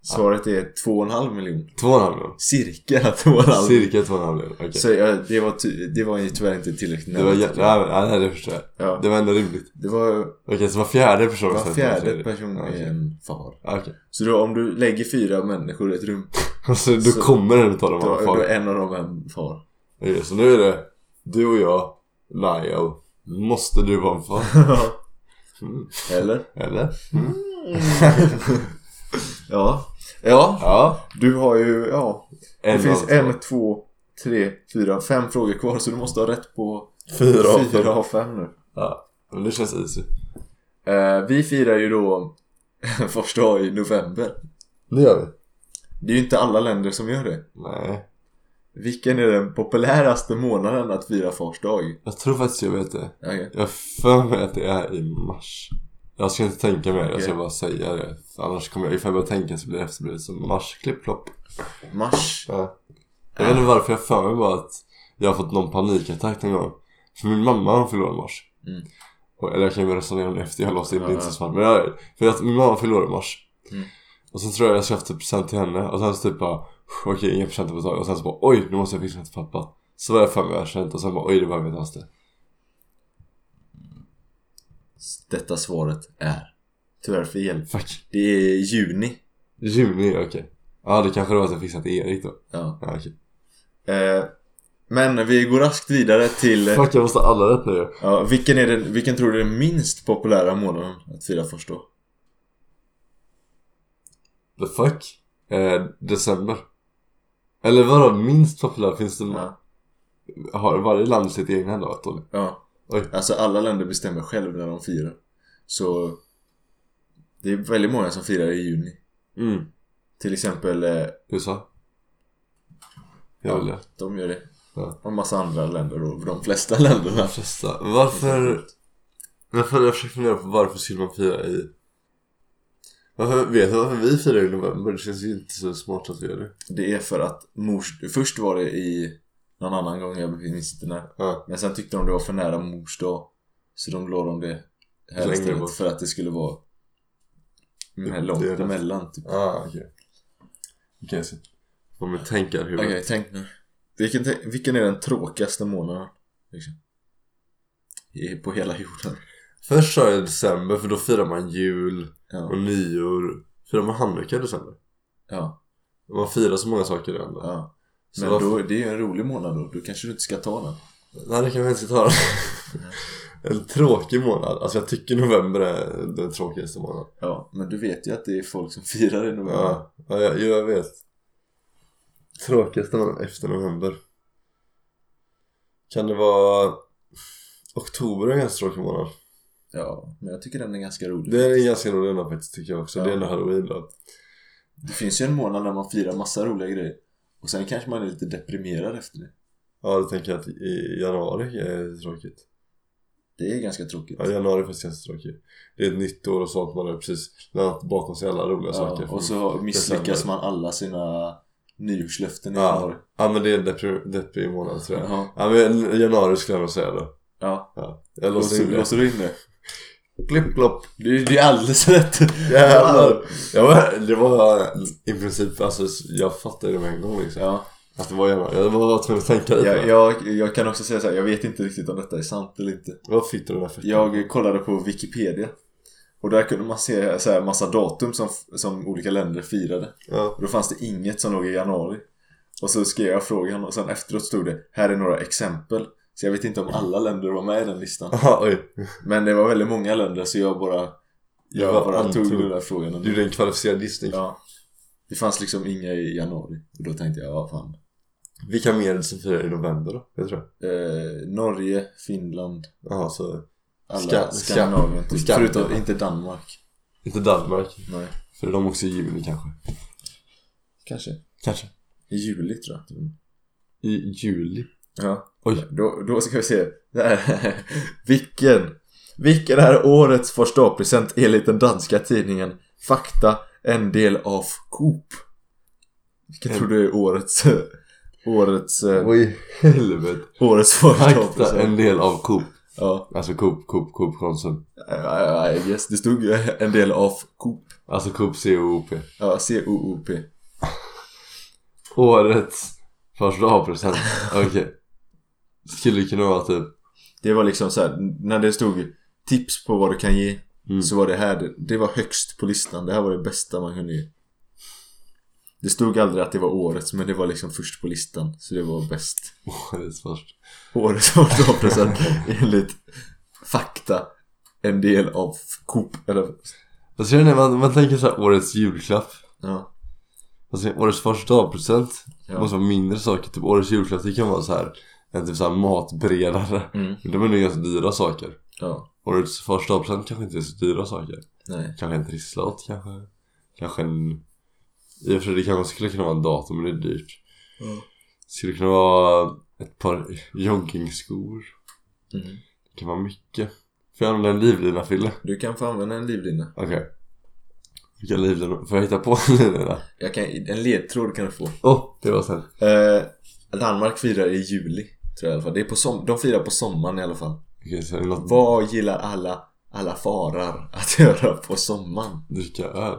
S2: Svaret är 2,5 miljoner.
S1: Två och en halv miljon.
S2: Cirka [LAUGHS] 2,5 miljoner.
S1: Cirka två och en halv miljon. Okej.
S2: Så jag, det, var ty- det var ju tyvärr inte tillräckligt
S1: Det var
S2: nämnt.
S1: jä- ja, men- ja, det förstår jag.
S2: ja.
S1: Det var ändå rimligt.
S2: Det var
S1: Okej, så var fjärde person
S2: var
S1: sett
S2: fjärde
S1: serie.
S2: person
S1: Ja,
S2: är
S1: Okej.
S2: en far.
S1: Ja, okej. [LAUGHS]
S2: Så då om du lägger fyra människor i ett rum,
S1: Alltså, då
S2: Så-
S1: kommer en utav dem i
S2: då,
S1: alla
S2: då
S1: fall.
S2: är en av dem en far.
S1: Okej, så nu är det du och jag, Lyle. Måste du vara en
S2: [LAUGHS]
S1: far? [LAUGHS] Mm.
S2: Eller?
S1: Eller?
S2: Ja. Ja,
S1: Ja.
S2: du har ju, ja. Det
S1: En
S2: finns
S1: av två.
S2: en, två, tre, fyra, fem frågor kvar så du måste ha rätt på
S1: Fyra av fem.
S2: fyra av fem nu.
S1: Ja. Men det känns easy.
S2: Eh, vi firar ju då [LAUGHS] första dag i november.
S1: Det gör vi.
S2: Det är ju inte alla länder som gör det.
S1: Nej.
S2: Vilken är den populäraste månaden att fira fars dag?
S1: Jag tror faktiskt jag vet det.
S2: Okej.
S1: Jag har för mig att det är i mars. Jag ska inte tänka mer, jag ska
S2: Okej.
S1: bara säga det. Annars kommer jag, ifall jag börjar tänka så blir det efter blir det som mars, klipp, plopp.
S2: Mars.
S1: Ja. Jag
S2: Ah.
S1: vet inte varför jag har för mig bara att jag har fått någon panikattack någon gång. För min mamma hon förlorade mars.
S2: Mm.
S1: Och, eller jag kan ju resonera om det efter jag har låst in det
S2: Ja,
S1: inte så
S2: ja.
S1: smart. Men jag, för att min mamma förlorade mars.
S2: Mm.
S1: Och sen tror jag jag ska ha haft typ present till henne och sen så typ bara okej inga presenter på ett tag och sen så bara oj nu måste jag fixa det till pappa. Så var jag för mig jag känt och sen bara oj det behöver jag inte alls det.
S2: Detta svaret är tyvärr fel.
S1: Fuck.
S2: Det är juni.
S1: Juni, okej. Ja det kanske det var att jag fixade till Erik då.
S2: Ja.
S1: Ja, okej.
S2: Eh, men vi går raskt vidare till...
S1: Fuck jag måste ha alla rätt nu
S2: Ja, vilken, är den, vilken tror du är den minst populära månaden att fira fars dag?
S1: The fuck? Eh, december. Eller vadå minst populär? Finns det någon?
S2: Ja.
S1: Har varje land sitt egna datum?
S2: ja.
S1: Oj.
S2: Alltså alla länder bestämmer själv när de firar. Så... Det är väldigt många som firar i juni.
S1: Mm.
S2: Till exempel, eh,
S1: USA? Jag
S2: Ja.
S1: vill det.
S2: de gör det.
S1: Ja.
S2: Och en massa andra länder då, de flesta [LAUGHS] länderna.
S1: Flesta. Varför? Varför? Jag försöker fundera på varför skulle man fira i... Varför, vet du varför vi firar i november? Det känns ju inte så smart att vi gör det.
S2: Det är för att mors... Först var det i någon annan gång, jag minns inte när.
S1: Ja.
S2: Men sen tyckte de det var för nära mors dag. Så de la dem det här
S1: Längre
S2: istället
S1: bort.
S2: för att det skulle vara mm,
S1: Det-
S2: långt
S1: det är rätt.
S2: emellan. Typ.
S1: Ah, okej. Okej, okay, så. Om vi tänker hur...
S2: Okej, tänk nu. Vilken, te- vilken är den tråkigaste månaden? Liksom? I- På hela jorden.
S1: Först sa jag december, för då firar man jul
S2: Ja.
S1: och nyår. Firar man hanukka i december?
S2: ja,
S1: Man firar så många saker i ändå.
S2: ja.
S1: Så
S2: Men
S1: varför-
S2: då, det är ju en rolig månad då. Då kanske du inte ska ta den.
S1: Nej det kan vi inte
S2: [LAUGHS]
S1: ta En tråkig månad, alltså jag tycker november är den tråkigaste månaden
S2: Ja, men du vet ju att det är folk som [LAUGHS] firar i november.
S1: Ja, ja jag, jag vet Tråkigaste månaden efter november Kan det vara Oktober är en ganska tråkig månad
S2: Ja, men jag tycker den är ganska rolig.
S1: Det är en ganska rolig månad faktiskt tycker jag också,
S2: Ja.
S1: det är ändå halloween då
S2: Det finns ju en månad när man firar massa roliga grejer. Och sen kanske man är lite deprimerad efter det.
S1: Ja då tänker jag att i januari är tråkigt
S2: Det är ganska tråkigt.
S1: Ja januari är faktiskt ganska tråkigt Det är ett nytt år och sånt, man har precis lämnat bakom sig alla roliga
S2: Ja,
S1: saker
S2: och så misslyckas man alla sina nyårslöften i
S1: Ja.
S2: januari.
S1: Ja men det är en deppig, deppig månad tror jag
S2: Ja.
S1: Ja men januari skulle jag nog säga då.
S2: ja.
S1: Ja. Jag
S2: Och
S1: låser
S2: så
S1: in det.
S2: låser du in det.
S1: Klipp klopp.
S2: Det är, det är alldeles rätt.
S1: Jävlar. Jag var, det var i princip, alltså jag fattade det med en gång liksom.
S2: Ja.
S1: Att det var januari. Jag var tvungen att tänka lite.
S2: Jag, jag, jag kan också säga så här, jag vet inte riktigt om detta är sant eller inte.
S1: Vad fick du den där fettan?
S2: Jag kollade på Wikipedia. Och där kunde man se så här massa datum som, som olika länder firade.
S1: Ja.
S2: Och då fanns det inget som låg i januari. Och så skrev jag frågan och sen efteråt stod det Här är några exempel. Så jag vet inte om alla länder var med i den listan.
S1: Aha, oj.
S2: Men det var väldigt många länder så jag bara Jag
S1: Jag
S2: bara
S1: antog.
S2: tog den där frågan
S1: Du
S2: ändå.
S1: gjorde en kvalificerad gissning.
S2: Ja. Det fanns liksom inga i januari. Och då tänkte jag, ja fan.
S1: Vilka mer är det som firar i november då? Jag tror
S2: Eh, Norge, Finland,
S1: jag. Jaha, så
S2: alla
S1: Ska-
S2: Skandinavien typ.
S1: Ska-
S2: Förutom inte Danmark.
S1: inte Danmark.
S2: Nej.
S1: För de också i juni kanske.
S2: Kanske.
S1: Kanske.
S2: I juli tror jag.
S1: I juli.
S2: Ja.
S1: Oj.
S2: Då, då ska vi se. Där. [LAUGHS] Vilken? Vilken är årets första present enligt den danska tidningen Fakta en del av Coop? Vilken
S1: En-
S2: tror du är årets [LAUGHS] Årets, eh,
S1: Vad i helvete?
S2: årets första
S1: Akta en del av Coop.
S2: Ja,
S1: Alltså Coop, Coop, Coop Konsum.
S2: I, I, I guess. Det stod ju en del av Coop.
S1: Alltså Coop COOP.
S2: Ja, C-O-O-P.
S1: Årets första [LAUGHS] present. Okej. Skulle kunna vara typ.
S2: Det var liksom så här, när det stod tips på vad du kan ge
S1: Mm.
S2: Så var det här, det- det var högst på listan. Det här var det bästa man kunde ge. Det stod aldrig att det var årets men det var liksom först på listan. Så det var bäst.
S1: Årets första.
S2: Årets försvarspresent enligt fakta. En del av Coop eller...
S1: Alltså jag vet inte, man, man tänker så här årets julklapp.
S2: Ja.
S1: Alltså årets första present.
S2: Ja.
S1: Måste vara mindre saker. Typ årets julklapp det kan vara så här. En typ så här matbredare.
S2: Mm.
S1: Men De är nog ganska dyra saker.
S2: Ja.
S1: Årets första present kanske inte är så dyra saker.
S2: Nej.
S1: Kanske en trisslott kanske. Kanske en... I och för sig det kanske skulle kunna vara en dator men det är dyrt.
S2: Ja.
S1: Skulle kunna vara ett par joggingskor.
S2: Mm.
S1: Det kan vara mycket. Får jag använda en livlina Fille?
S2: Du kan få använda en livlina.
S1: Okej. Vilka livlinor? Får jag hitta på en livlina?
S2: Jag kan, en ledtråd kan du få.
S1: Åh, oh, det var sen.
S2: Eh, Danmark firar i juli. Tror jag i alla fall. Det är på som, de firar på sommaren i alla fall.
S1: Okej, så är det något
S2: Vad gillar alla, alla farar att [LAUGHS] göra på sommaren?
S1: dricka öl.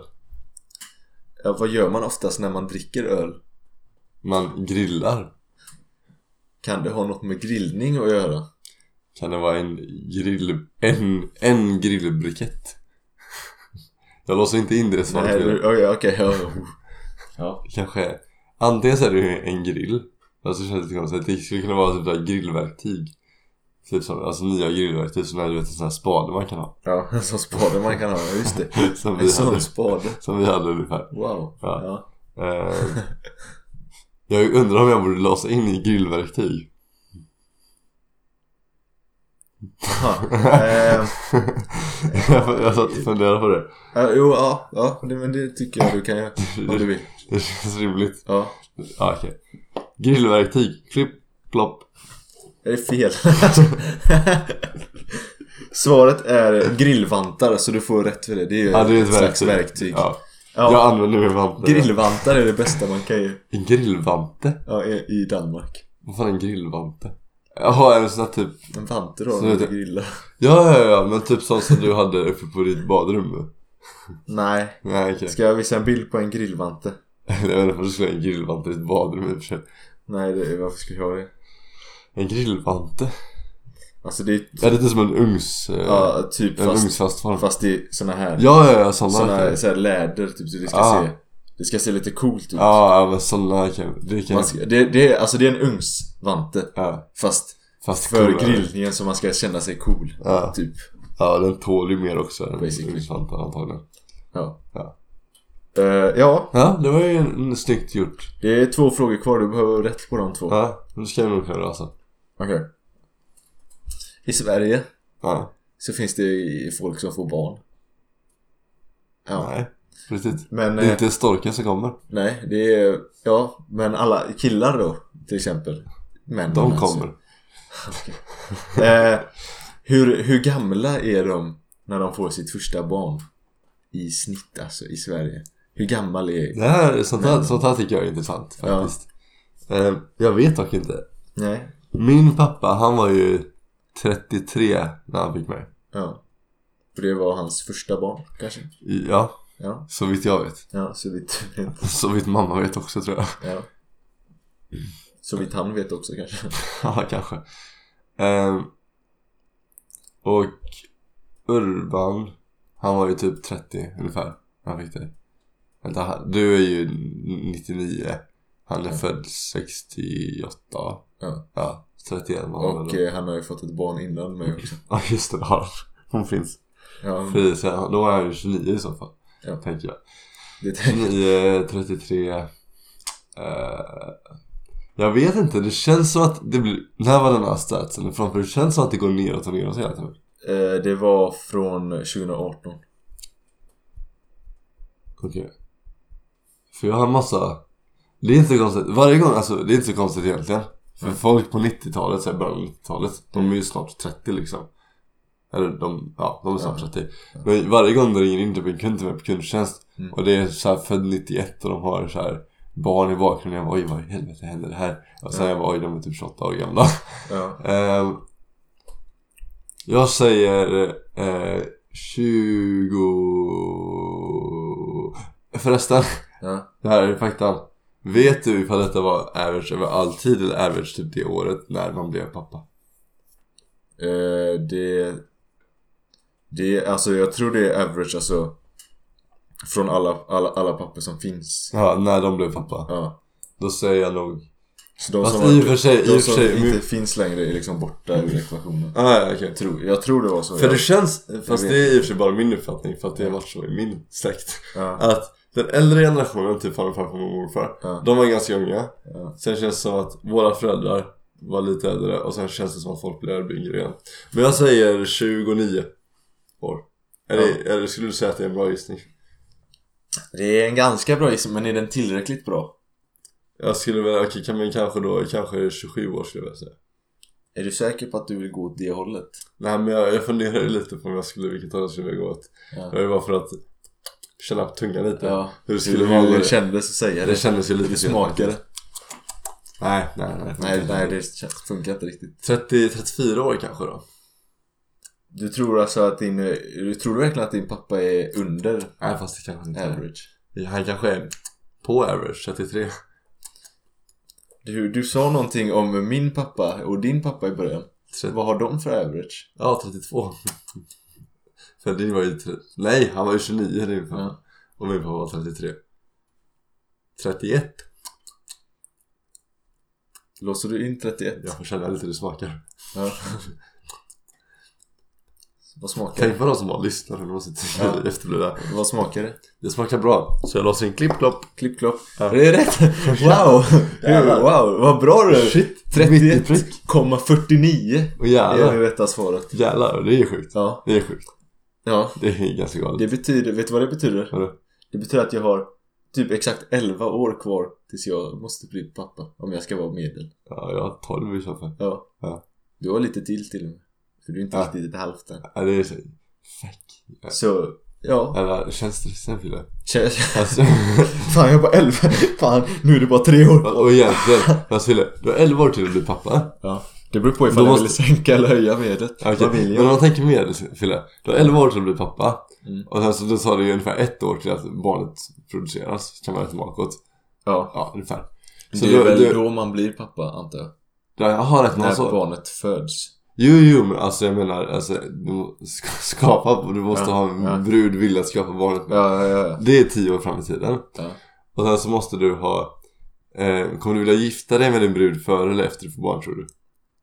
S2: Ja, vad gör man oftast när man dricker öl?
S1: Man grillar.
S2: Kan det ha något med grillning att göra?
S1: Kan det vara en grill... En, en grillbrikett? [LAUGHS] Jag låser inte in det svaret.
S2: Nej,
S1: Fille.
S2: du- Okej, okej. ja. Ja.
S1: Kanske... Antingen så är det en grill. Alltså det känns lite konstigt. Det skulle kunna vara typ där grillverktyg. Typ som, alltså nya grillverktyg. Sådana du vet en sån här spade man kan ha.
S2: Ja, en sån spade man kan ha. Ja, Just det.
S1: Som [LAUGHS] vi
S2: En sån
S1: hade,
S2: spade.
S1: som vi hade ungefär.
S2: Wow.
S1: Ja.
S2: Ja.
S1: Eh, jag undrar om jag borde låsa in i grillverktyg. [LAUGHS]
S2: Aha. Eh,
S1: jag, jag satt och funderade på det.
S2: ja, jo, ja. ja det, men det tycker jag du kan göra. Om du vill.
S1: Det känns rimligt.
S2: Ja.
S1: Ja, okej. Grillverktyg. Klipp, plopp.
S2: Det är fel. [LAUGHS] Svaret är grillvantar, så du får rätt för det. Det är ju
S1: Ja, det är ett
S2: slags
S1: verktyg.
S2: verktyg.
S1: Ja.
S2: Ja.
S1: Jag använder min vante.
S2: Grillvantar är det bästa man kan ge
S1: En grillvante?
S2: ja, i, i Danmark.
S1: Vad fan är en grillvante? Jaha, en sån här typ
S2: En vante då,
S1: Så
S2: när
S1: det-
S2: du grillar.
S1: Ja, ja, ja, men typ sån som du hade uppe på ditt badrum
S2: Nej.
S1: Nej, okej. [LAUGHS]
S2: Ska jag visa en bild på en grillvante?
S1: Jag vet inte varför du skulle ha en grillvante i ditt badrum i och för sig.
S2: Nej, det, varför skulle jag ha det?
S1: En grillvante?
S2: Alltså det är
S1: Ja, det är lite som en ugns... eh,
S2: ja, typ
S1: en
S2: fast,
S1: ugnsfast form.
S2: fast det är såna här
S1: Ja, ja, ja, såna.
S2: Såna
S1: kan-
S2: här, så här läder typ så det ska
S1: Ah.
S2: se Det ska se lite coolt ut
S1: Ja, ja, men såna kan... Det kan...
S2: man ska, det, det, är- Alltså det är en ugnsvante
S1: Ja,
S2: Fast
S1: fast
S2: för
S1: coolare.
S2: grillningen så man ska känna sig cool
S1: Ja.
S2: Typ
S1: Ja, den tål ju mer också än
S2: Basically.
S1: ugnsvantar antagligen.
S2: Ja
S1: Ja.
S2: Eh, ja,
S1: Ja, det var ju en, en snyggt gjort.
S2: det är två frågor kvar. Du behöver rätt på de två.
S1: Ja, nu ska jag nog alltså. kunna lösa.
S2: Okej. I Sverige
S1: Ja,
S2: så finns det folk som får barn. Ja.
S1: nej. Riktigt.
S2: Men
S1: Det är
S2: eh,
S1: inte storken som kommer.
S2: nej, det är... Ja, men alla killar då till exempel. Män,
S1: De
S2: alltså.
S1: kommer.
S2: [LAUGHS] Eh, hur, hur gamla är de när de får sitt första barn? I snitt alltså, i Sverige. Hur gammal är...
S1: Det här, sånt, här,
S2: Men-
S1: sånt här tycker jag är intressant
S2: Ja.
S1: faktiskt. Eh, jag vet dock inte.
S2: Nej.
S1: Min pappa, han var ju 33 när han fick mig.
S2: Ja. För det var hans första barn, kanske?
S1: I- Ja,
S2: Ja.
S1: så vitt jag vet.
S2: Ja, så vitt
S1: Så vitt mamma vet också tror jag. [LAUGHS]
S2: ja. Så vitt han vet också kanske.
S1: Ja, kanske. Eh, och Urban, han var ju typ 30 ungefär när han fick dig. Vänta, han- du är ju 99. Han är
S2: Ja.
S1: född 68.
S2: Ja.
S1: Ja, 31 var han
S2: Och
S1: då.
S2: eh, han har ju fått ett barn innan mig också.
S1: Ja just det, ja. hon finns. [LAUGHS]
S2: Ja,
S1: Precis, ja. då är han ju 29 i så fall.
S2: Ja.
S1: Tänker jag.
S2: det
S1: 29, 33. eh, jag vet inte, det känns som att det blir... När var den här statsen ifrån? För det känns som att det går neråt och neråt hela tiden.
S2: eh, det var från 2018.
S1: Okej. För jag har en massa... Det är inte så konstigt. Varje gång, alltså det är inte så konstigt egentligen. För
S2: Mm.
S1: folk på 90-talet, säger början av 90-talet, de
S2: Mm.
S1: är ju snart 30 liksom. Eller de, ja, de är snart
S2: Ja.
S1: 30.
S2: Ja.
S1: Men varje gång det ringer in typ en kund till mig på kundtjänst
S2: Mm.
S1: och det är så här född 91 och de har så här barn i bakgrunden. Jag bara, oj vad i helvete händer det här? Och sen
S2: Ja.
S1: jag bara, oj de är typ 28 år gamla.
S2: Ja.
S1: Ehm, jag säger eh, 20... Förresten, [LAUGHS]
S2: Ja.
S1: det här är faktan. Vet du ifall detta var average över all tid eller average typ det året när man blev pappa?
S2: Eh, det... Det alltså jag tror det är average alltså. Från alla, alla, alla papper som finns.
S1: Ja, när de blev pappa.
S2: Ja.
S1: Då säger jag nog...
S2: Så de
S1: Fast
S2: som,
S1: i och för sig, i och
S2: de
S1: för
S2: som
S1: sig.
S2: inte
S1: men-
S2: finns längre är liksom borta ur ekvationen.
S1: Ah, ja, okej.
S2: Tror, jag tror det var så.
S1: För
S2: ja.
S1: det känns, fast
S2: vet
S1: det är i och för sig bara min uppfattning för att det har varit så i min släkt.
S2: ja.
S1: Att den äldre generationen, typ farmor, farfar, mormor, morfar.
S2: Ja.
S1: De var ganska unga.
S2: Ja.
S1: Sen känns det som att våra föräldrar var lite äldre och sen känns det som att folk blir yngre igen. Men jag säger 29 år. Eller,
S2: Ja.
S1: eller skulle du säga att det är en bra gissning?
S2: Det är en ganska bra gissning, men är den tillräckligt bra?
S1: Jag skulle väl, okej kan men kanske då, kanske 27 år skulle jag säga.
S2: Är du säker på att du vill gå åt det hållet?
S1: Nej men jag, jag funderade lite på om jag skulle, vilket håll jag skulle gå åt. Det
S2: Ja.
S1: var ju bara för att känna på tungan lite.
S2: ja.
S1: Hur det
S2: Skulle
S1: skulle
S2: du
S1: vara.
S2: hur
S1: Det,
S2: kändes att säga
S1: det
S2: det?
S1: kändes ju lite
S2: Det
S1: fel
S2: smakade.
S1: faktiskt. Nej, nej, nej.
S2: Nej, nej det känns- funkar inte riktigt.
S1: 30, 34 år kanske då?
S2: Du tror alltså att din... Du tror verkligen att din pappa är under
S1: Nej fast det kanske inte är.
S2: average?
S1: Han kanske är på average 33.
S2: Du, du sa någonting om min pappa och din pappa i början.
S1: Tre-
S2: Vad har de för average?
S1: Ja, 32. [LAUGHS] För din var ju... tre- Nej, han var ju 29 din pappa.
S2: Ja.
S1: Och min pappa var 33. 31.
S2: Låser du in 31?
S1: Jag får känna lite hur det smakar.
S2: Ja. Vad smakar det?
S1: Tänk på de som bara lyssnar när de sitter
S2: Ja.
S1: ja. efter det där.
S2: Vad smakar det?
S1: Det smakar bra. Så jag låser in
S2: [LAUGHS]
S1: klipp-klopp.
S2: Klipp klopp.
S1: Ja.
S2: Det är rätt! Wow!
S1: Jävlar.
S2: wow, vad bra du är!
S1: Shit!
S2: 31,49
S1: prick. Och
S2: är
S1: jävlar.
S2: det rätta svaret.
S1: Jävlar, det är sjukt.
S2: Ja.
S1: Det är sjukt.
S2: ja.
S1: Det är ganska galet.
S2: Det betyder, vet du vad det betyder?
S1: Vadå?
S2: Det betyder att jag har typ exakt 11 år kvar tills jag måste bli pappa. Om jag ska vara medel.
S1: Ja, jag har 12 i så fall.
S2: Ja.
S1: Ja.
S2: Du har lite till till och med. För du är inte
S1: Ja.
S2: riktigt ett halvt än.
S1: Ja, det är så... Fuck.
S2: Så, ja.
S1: Eller, känns stressen Fille? [LAUGHS]
S2: Känns-
S1: Alltså...
S2: Fan jag är bara 11. Fan, nu är det bara 3 år
S1: Och egentligen, fast Fille, du har 11 år till att bli pappa.
S2: Ja. Det beror på ifall
S1: Då
S2: jag
S1: måste-
S2: vill sänka eller höja medlet.
S1: Okej,
S2: Vad vill
S1: Men
S2: jag?
S1: om man tänker mer Fille, du har 11 år till att bli pappa
S2: Mm.
S1: och sen så då tar det ju ungefär ett år till att barnet produceras, kan man räkna bakåt.
S2: Ja.
S1: Ja, ungefär. Så
S2: Det är
S1: du-
S2: väl
S1: du-
S2: då man blir pappa antar jag.
S1: Jag har rätt
S2: När
S1: någon så.
S2: barnet föds.
S1: Jo, jo, men alltså jag menar, alltså, du må- ska [LAUGHS] skapa, du måste
S2: Ja,
S1: ha en
S2: ja.
S1: brud, vilja skapa barnet med.
S2: Ja, ja, ja.
S1: Det är 10 år fram i tiden.
S2: Ja.
S1: Och sen så måste du ha, eh, kommer du vilja gifta dig med din brud före eller efter du får barn tror du?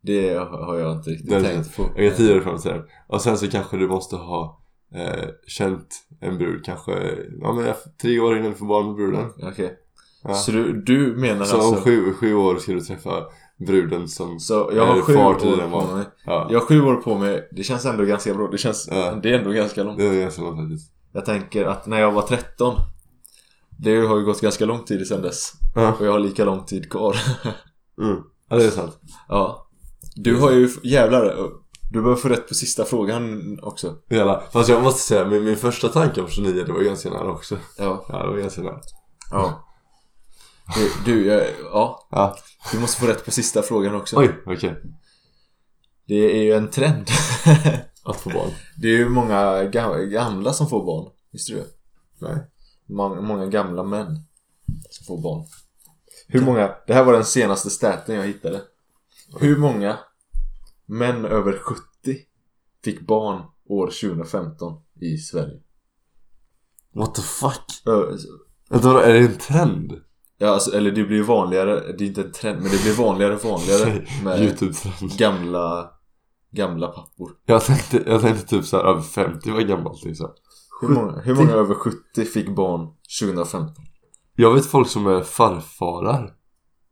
S2: Det har jag inte riktigt
S1: Det är
S2: tänkt på.
S1: Jag är 10 år fram i tiden. Och sen så kanske du måste ha eh, känt en brud kanske, ja men tre år innan du får barn med bruden.
S2: Okej.
S1: Ja.
S2: Så du, du menar
S1: Så om
S2: alltså...
S1: sju, sju år ska du träffa bruden som...
S2: Så jag
S1: Eller
S2: har sju
S1: far
S2: år
S1: till den
S2: på
S1: var.
S2: mig.
S1: Ja,
S2: Jag har sju år på mig. Det känns ändå ganska bra. Det känns...
S1: Ja.
S2: Det är ändå ganska långt.
S1: det är ganska långt faktiskt.
S2: Jag tänker att när jag var 13. Det har ju gått ganska lång tid sedan dess.
S1: Ja.
S2: Och jag har lika lång tid kvar. [LAUGHS]
S1: Mm. ja, det är sant.
S2: ja. Du har ju... Jävlar. Du behöver få rätt på sista frågan också.
S1: Jävlar. Fast jag måste säga, min, min första tanke om 29, det var ganska nära också.
S2: Ja.
S1: Ja, det var ganska nära.
S2: Ja. Du, du jag, ja.
S1: Ja.
S2: Du måste få rätt på sista frågan också.
S1: Oj, okej.
S2: Det är ju en trend. [LAUGHS]
S1: Att få barn.
S2: det är ju många ga- gamla som får barn. Visste du det?
S1: Nej.
S2: Många, många gamla män som får barn. Hur många, det här var den senaste staten jag hittade. Hur många män över 70 fick barn år 2015 i Sverige?
S1: What the fuck?
S2: Ö-
S1: Vänta, vadå, är det en trend?
S2: Ja, alltså, eller det blir ju vanligare, det är inte en trend, men det blir vanligare och vanligare med
S1: Youtube-trend.
S2: gamla, gamla pappor.
S1: Jag tänkte, jag tänkte typ såhär över 50 var gammalt liksom.
S2: Hur många, hur många över 70 fick barn 2015?
S1: Jag vet folk som är farfarar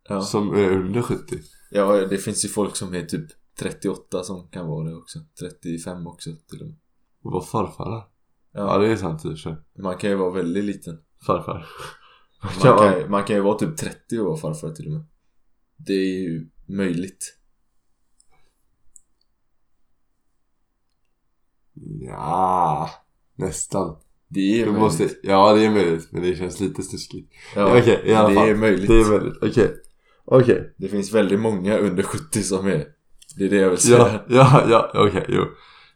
S2: Ja.
S1: som är under 70.
S2: ja, det finns ju folk som är typ 38 som kan vara det också. 35 också till och med.
S1: Och var farfarar.
S2: Ja.
S1: Ja, det är sant i och för sig.
S2: Man kan ju vara
S1: [LAUGHS]
S2: väldigt liten.
S1: Farfar.
S2: Man kan, man kan ju vara typ 30 och vara farfar till och med. Det är ju möjligt.
S1: Ja, nästan.
S2: Det är
S1: Du
S2: möjligt.
S1: måste, ja det är möjligt men det känns lite snuskigt.
S2: Ja,
S1: Okej, i alla
S2: det
S1: fall.
S2: är möjligt.
S1: Det är möjligt, okej. Okej.
S2: Det finns väldigt många under 70 som är. Det är det jag vill säga.
S1: Ja, ja, ja, okej, jo.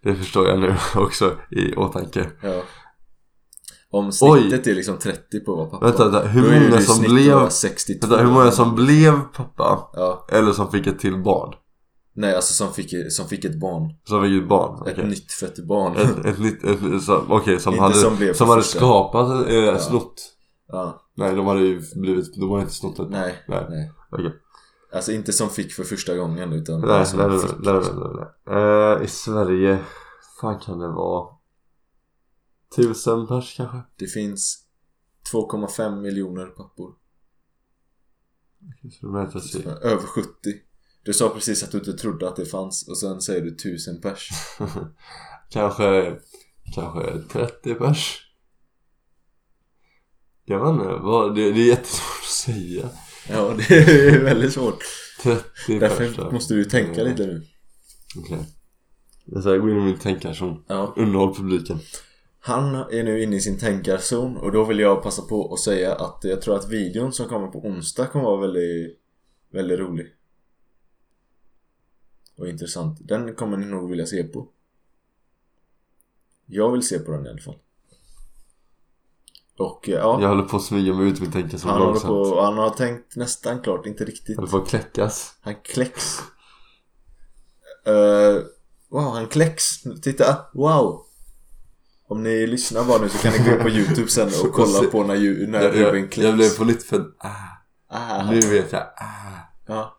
S1: Det förstår jag nu [LAUGHS] också i åtanke.
S2: Ja. Om snittet är liksom 30 på att vara pappa.
S1: Vänta, vänta.
S2: då
S1: Hur
S2: är
S1: många
S2: det i
S1: som
S2: snitt
S1: blev...
S2: att vara 62.
S1: Vänta, hur många som blev pappa
S2: Ja.
S1: eller som fick ett till barn?
S2: Nej, alltså som fick, som fick ett barn.
S1: Som fick ett barn? Okej.
S2: Ett nyttfött barn.
S1: Ett, ett nytt, ett, ett, som- okej, som
S2: Inte
S1: hade,
S2: som blev
S1: som hade
S2: första.
S1: skapat, eh, snott.
S2: Ja.
S1: Nej, de hade ju blivit, de hade inte snott ett barn.
S2: Nej.
S1: Nej.
S2: Nej.
S1: Okej.
S2: Alltså inte som fick för första gången utan
S1: Nej,
S2: som
S1: nej, nej,
S2: fick.
S1: nej, nej, nej, nej. Eh, I Sverige, fan kan det vara? Tusen pers kanske?
S2: Det finns 2,5 miljoner pappor. Eh,
S1: Så de är inte så-
S2: Över 70. Du sa precis att du inte trodde att det fanns och sen säger du 1000 pers.
S1: [LAUGHS] kanske, kanske 30 pers? Jag vet inte, vad, det, det är jättesvårt att säga.
S2: Ja, det är väldigt svårt.
S1: 30 pers.
S2: Därför
S1: då.
S2: måste du tänka
S1: Mm.
S2: lite nu.
S1: Okej. Jag säger, gå in i min tänkarzon.
S2: Ja.
S1: Underhåll publiken.
S2: Han är nu inne i sin tänkarzon och då vill jag passa på att säga att jag tror att videon som kommer på onsdag kommer vara väldigt, väldigt rolig. Och intressant. Den kommer ni nog vilja se på. Jag vill se på den i alla fall. Och eh, ja,
S1: Jag håller på att smyga mig ut min tänkarzon
S2: han, håller
S1: långsamt.
S2: på, han har tänkt nästan klart, inte riktigt.
S1: Jag håller på att kläckas.
S2: Han kläcks. Eh, wow, han kläcks. Titta, wow. Om ni lyssnar bara nu så kan ni gå in på youtube sen [LAUGHS] och kolla på när, ju, när
S1: Jag,
S2: Ruben
S1: jag,
S2: kläcks.
S1: jag blev på nytt född. Ah.
S2: ah,
S1: Nu vet jag. Ah.
S2: ja.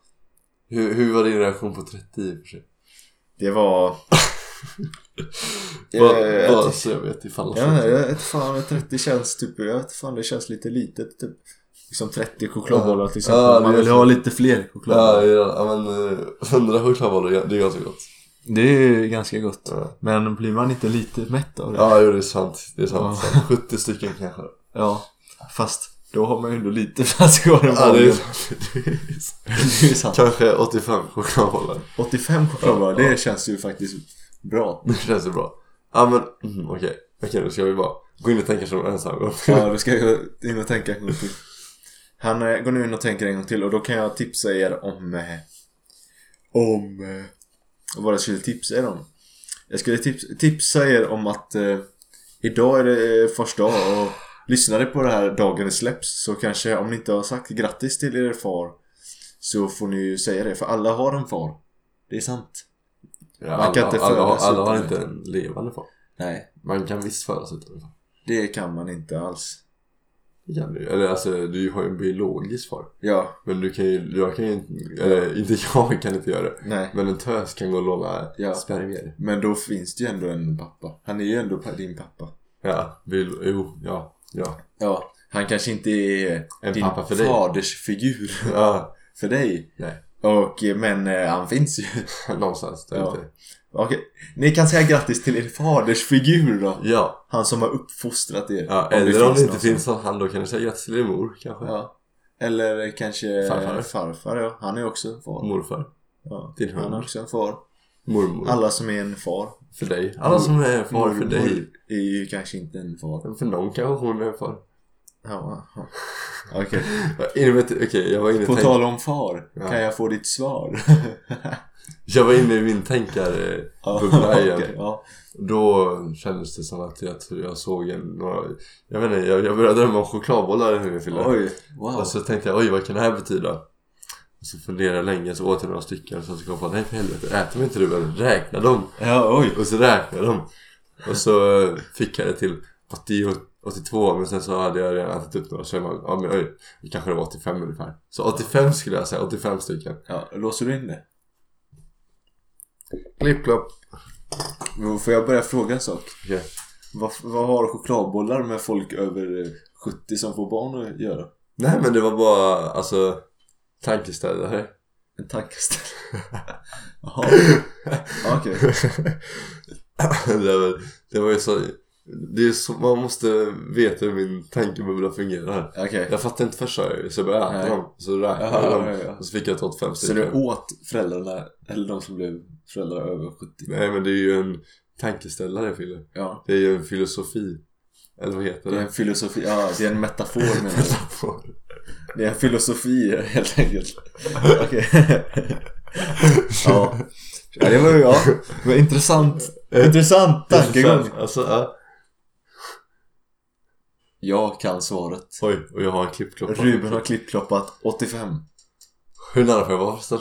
S1: Hur, hur var din reaktion på 30 i och för sig?
S2: Det [LAUGHS] var...
S1: Bara-
S2: Eh,
S1: Bara så alltså, jag vet ifall
S2: Ja, men jag vet fan, 30 känns typ, jag vet fan, det känns lite litet typ. Som 30 chokladbollar till exempel.
S1: Ja, det
S2: Man
S1: är
S2: vill
S1: så.
S2: ha lite fler
S1: Ja,
S2: chokladbollar.
S1: ja, ja, men eh, 100 chokladbollar, ja, det är ganska gott.
S2: Det är ganska gott.
S1: Ja,
S2: Men blir man inte lite mätt av det?
S1: ja jo, det är sant. Det är sant. [LAUGHS] 70 stycken kanske.
S2: Ja, fast då har man ju ändå lite [LAUGHS] plats kvar i
S1: Ja, det är
S2: magen.
S1: sant. Det är sant.
S2: [LAUGHS] Det är sant.
S1: Kanske 85 chokladbollar.
S2: 85 chokladbollar, det känns ju faktiskt bra.
S1: Det känns ju bra. Ja, men mm, okej. Okej, nu ska vi bara gå in och tänka som ensam.
S2: Ja, då ska jag in och tänka en gång till. Han eh, går nu in och tänker en gång till och då kan jag tipsa er om... Eh, om... Eh, vad var det jag skulle tipsa er om? Jag skulle tips, tipsa er om att eh, idag är det eh, första dag och lyssnar ni på det här dagen det släpps så kanske om ni inte har sagt grattis till er far så får ni ju säga det för alla har en far. Det är sant.
S1: Ja,
S2: Man kan
S1: alla,
S2: inte
S1: alla, har-
S2: födas
S1: alla har
S2: utan
S1: inte en levande far.
S2: Nej,
S1: Man kan visst födas utan en far.
S2: det kan man inte alls.
S1: Det kan du ju. Eller alltså, du har ju en biologisk far.
S2: Ja,
S1: Men du kan ju, jag kan ju inte, eller [LAUGHS] inte jag kan inte göra det.
S2: nej.
S1: Men en tös kan gå och låna
S2: Ja.
S1: spermier.
S2: Men då finns det ju ändå en pappa. Han är ju ändå pa- din pappa.
S1: Ja, vill, jo, ja,
S2: [LAUGHS]
S1: ja.
S2: Ja, han kanske inte är
S1: En
S2: din
S1: pappa för dig.
S2: fadersfigur [LAUGHS]
S1: Ja,
S2: för dig.
S1: nej.
S2: Och, eh, men eh, han finns ju. [LAUGHS]
S1: Någonstans där
S2: Ja.
S1: ute.
S2: Okej, ni kan säga grattis till er fadersfigur då.
S1: Ja,
S2: Han som har uppfostrat er.
S1: ja. eller om det inte
S2: någon
S1: finns någon hand då kan du säga grattis till din mor
S2: sån.
S1: kanske.
S2: Ja. Eller kanske
S1: Farfar.
S2: farfar. farfar ja. Han är också en far.
S1: Morfar.
S2: Ja.
S1: Din
S2: Han är
S1: hund.
S2: också en far.
S1: Mormor.
S2: Alla som är en far.
S1: För dig. Alla som är far för
S2: Mormor
S1: dig.
S2: är ju kanske inte en far.
S1: Men För någon kanske hon är en far.
S2: Ja, ja. Okej. [LAUGHS]
S1: Jag är inne med- Okej, jag var inne i
S2: På
S1: tänk-
S2: tal om far,
S1: Ja.
S2: kan jag få ditt svar? [LAUGHS]
S1: Jag var inne i min tänkare bubbla igen.
S2: okej, ja.
S1: Då kändes det som att jag, jag såg en, några, jag vet inte, jag, jag började drömma om chokladbollar när jag fyllde
S2: Oj, wow.
S1: Och så tänkte jag, oj vad kan det här betyda? Och så funderade jag länge, så åt jag några stycken och sen så kom jag på, nej för helvete, äter vi inte Ruben? Räkna dem!
S2: Ja, oj.
S1: Och så räknade jag dem. Och så eh, fick jag det till 80, 82 men sen så hade jag redan ätit upp några så jag bara, ja men oj, det kanske det var 85 ungefär. Så 85 skulle jag säga, 85 stycken.
S2: Ja, låser du in det?
S1: Klipp, klopp.
S2: Men Får jag börja fråga en sak?
S1: Okej.
S2: Vad, vad har chokladbollar med folk över eh, 70 som får barn att göra?
S1: Nej men det var bara, alltså, tankeställare.
S2: En tankeställare? [LAUGHS] Jaha, Ja, okej.
S1: det, var, det var ju så, det är så, man måste veta hur min tankebubbla fungerar.
S2: Okej.
S1: Jag fattade inte först sa jag ju, så jag började äta
S2: Nej.
S1: dem. Så räknade jag
S2: Ja, ja,
S1: dem
S2: ja.
S1: och så fick jag ett 85
S2: Så
S1: stycken.
S2: du åt föräldrarna, eller de som blev föräldrar över 70?
S1: Nej men det är ju en tankeställare Fille.
S2: Ja.
S1: Det är ju en filosofi. Eller vad heter
S2: Det är
S1: det?
S2: en filosofi, ja det är en metafor menar jag. [LAUGHS] Det är en filosofi helt enkelt. Okej.
S1: [LAUGHS]
S2: ja. ja, det var ju, ja. Det var intressant. Intressant tankegång.
S1: Alltså, ja.
S2: Jag kan svaret.
S1: Oj, och jag har en klippklocka.
S2: Ruben har klippkloppat 85.
S1: Hur nära får jag vara förresten?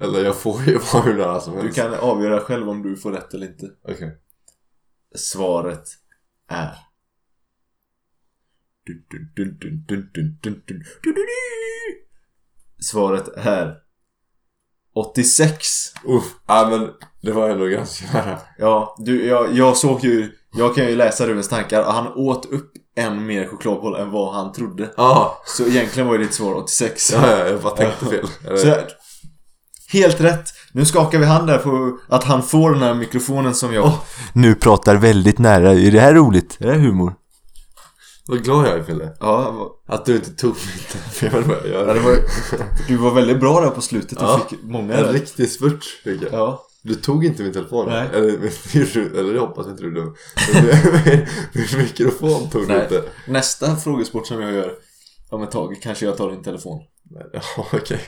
S1: Eller jag får ju vara hur nära som
S2: Du
S1: helst.
S2: kan avgöra själv om du får rätt eller inte.
S1: Okej.
S2: Svaret är... Dun, dun, dun, dun, dun, dun, dun, dun, dun, dun. Svaret är 86.
S1: Uff, ja men det var ändå ganska nära.
S2: Ja, du, jag, jag såg ju... Jag kan ju läsa Rubens tankar. Han åt upp en mer chokladboll än vad han trodde.
S1: Ja,
S2: Så egentligen var ju ditt svar 86.
S1: ja, ja, jag bara tänkte fel.
S2: Så, här. helt rätt. Nu skakar vi hand där på att han får den här mikrofonen som jag... nu pratar väldigt nära. Är det här roligt? Är det här humor?
S1: Vad glad jag är Fille.
S2: Ja, vad-
S1: Att du inte tog mitt. [LAUGHS] För jag vet inte vad jag
S2: ja, det
S1: gör.
S2: var, du var väldigt bra där på slutet och
S1: Ja.
S2: fick många
S1: En
S2: rätt.
S1: riktig spurt fick jag.
S2: Ja.
S1: Du tog inte min telefon.
S2: Nej.
S1: Eller, min- eller [LAUGHS] jag hoppas inte du dum. Men min- [LAUGHS] Min mikrofon tog du
S2: Nej.
S1: inte.
S2: Nästa frågesport som jag gör om ett tag kanske jag tar din telefon.
S1: Nej, Ja, okej.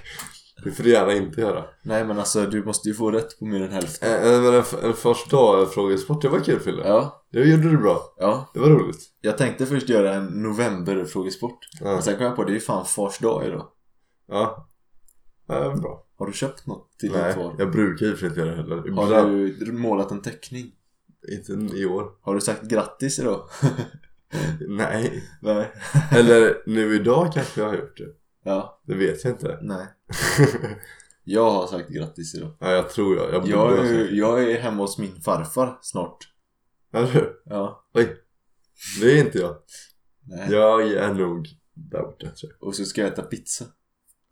S1: Det får du gärna inte göra.
S2: Nej men alltså du måste ju få rätt på mer än hälften.
S1: Eh, eh, Men en, f- en första frågesport, det var kul Fille.
S2: Ja,
S1: Det gjorde du bra.
S2: ja.
S1: Det var roligt.
S2: Jag tänkte först göra en novemberfrågesport.
S1: Ja.
S2: Men sen kom jag på det är ju fan fars dag idag.
S1: Ja. ja bra.
S2: Har du köpt något till din
S1: Nej,
S2: far?
S1: jag brukar ju för sig inte göra det heller.
S2: Har
S1: Ibland,
S2: du målat en teckning?
S1: Inte i år.
S2: Har du sagt grattis idag?
S1: Nej.
S2: Nej.
S1: Eller nu idag kanske jag har gjort det.
S2: Ja,
S1: Det vet jag inte. [LAUGHS]
S2: nej. Jag har sagt grattis idag.
S1: ja, jag tror jag. Jag borde
S2: Jag
S1: ha
S2: är,
S1: sagt.
S2: ju- jag är hemma hos min farfar snart.
S1: Eller
S2: Ja.
S1: Det är inte jag.
S2: Nej.
S1: Jag är nog där borta tror jag.
S2: Och så ska jag äta pizza.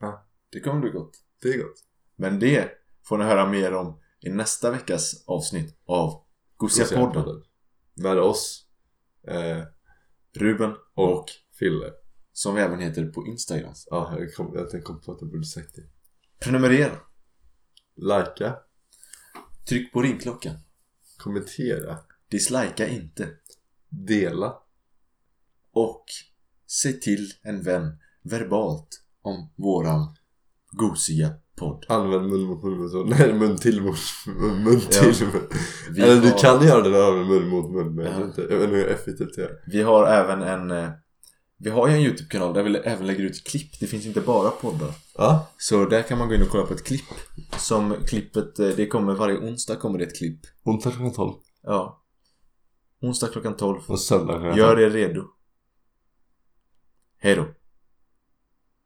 S1: Ja.
S2: Det kommer bli gott.
S1: Det är gott.
S2: Men det får ni höra mer om i nästa veckas avsnitt av Gosiapodden.
S1: podden. Med oss. Eh,
S2: Ruben
S1: och,
S2: och
S1: Fille.
S2: som vi även heter på Instagram.
S1: Ja, jag kom, jag kom på att jag borde sagt det.
S2: Prenumerera.
S1: Lajka.
S2: Tryck på ringklockan.
S1: Kommentera.
S2: Dislika inte.
S1: Dela.
S2: Och se till en vän verbalt om våran gosiga podd.
S1: Använd mun mot mun metoden. Nej, mun till mot mun, mun till mun.
S2: Vi
S1: Eller du
S2: har-
S1: kan göra det där med mun mot mun men jag
S2: Ja.
S1: vet inte. Jag vet inte hur effektivt det är.
S2: Vi har även en... eh, Vi har ju en YouTube-kanal där vi även lägger ut klipp. Det finns inte bara poddar.
S1: Ja.
S2: Så där kan man gå in och kolla på ett klipp. Som klippet, eh, det kommer varje onsdag kommer det ett klipp.
S1: Onsdag klockan 12
S2: Ja. Onsdag klockan 12.
S1: och söndag klockan 12.
S2: Gör er redo. Hej då.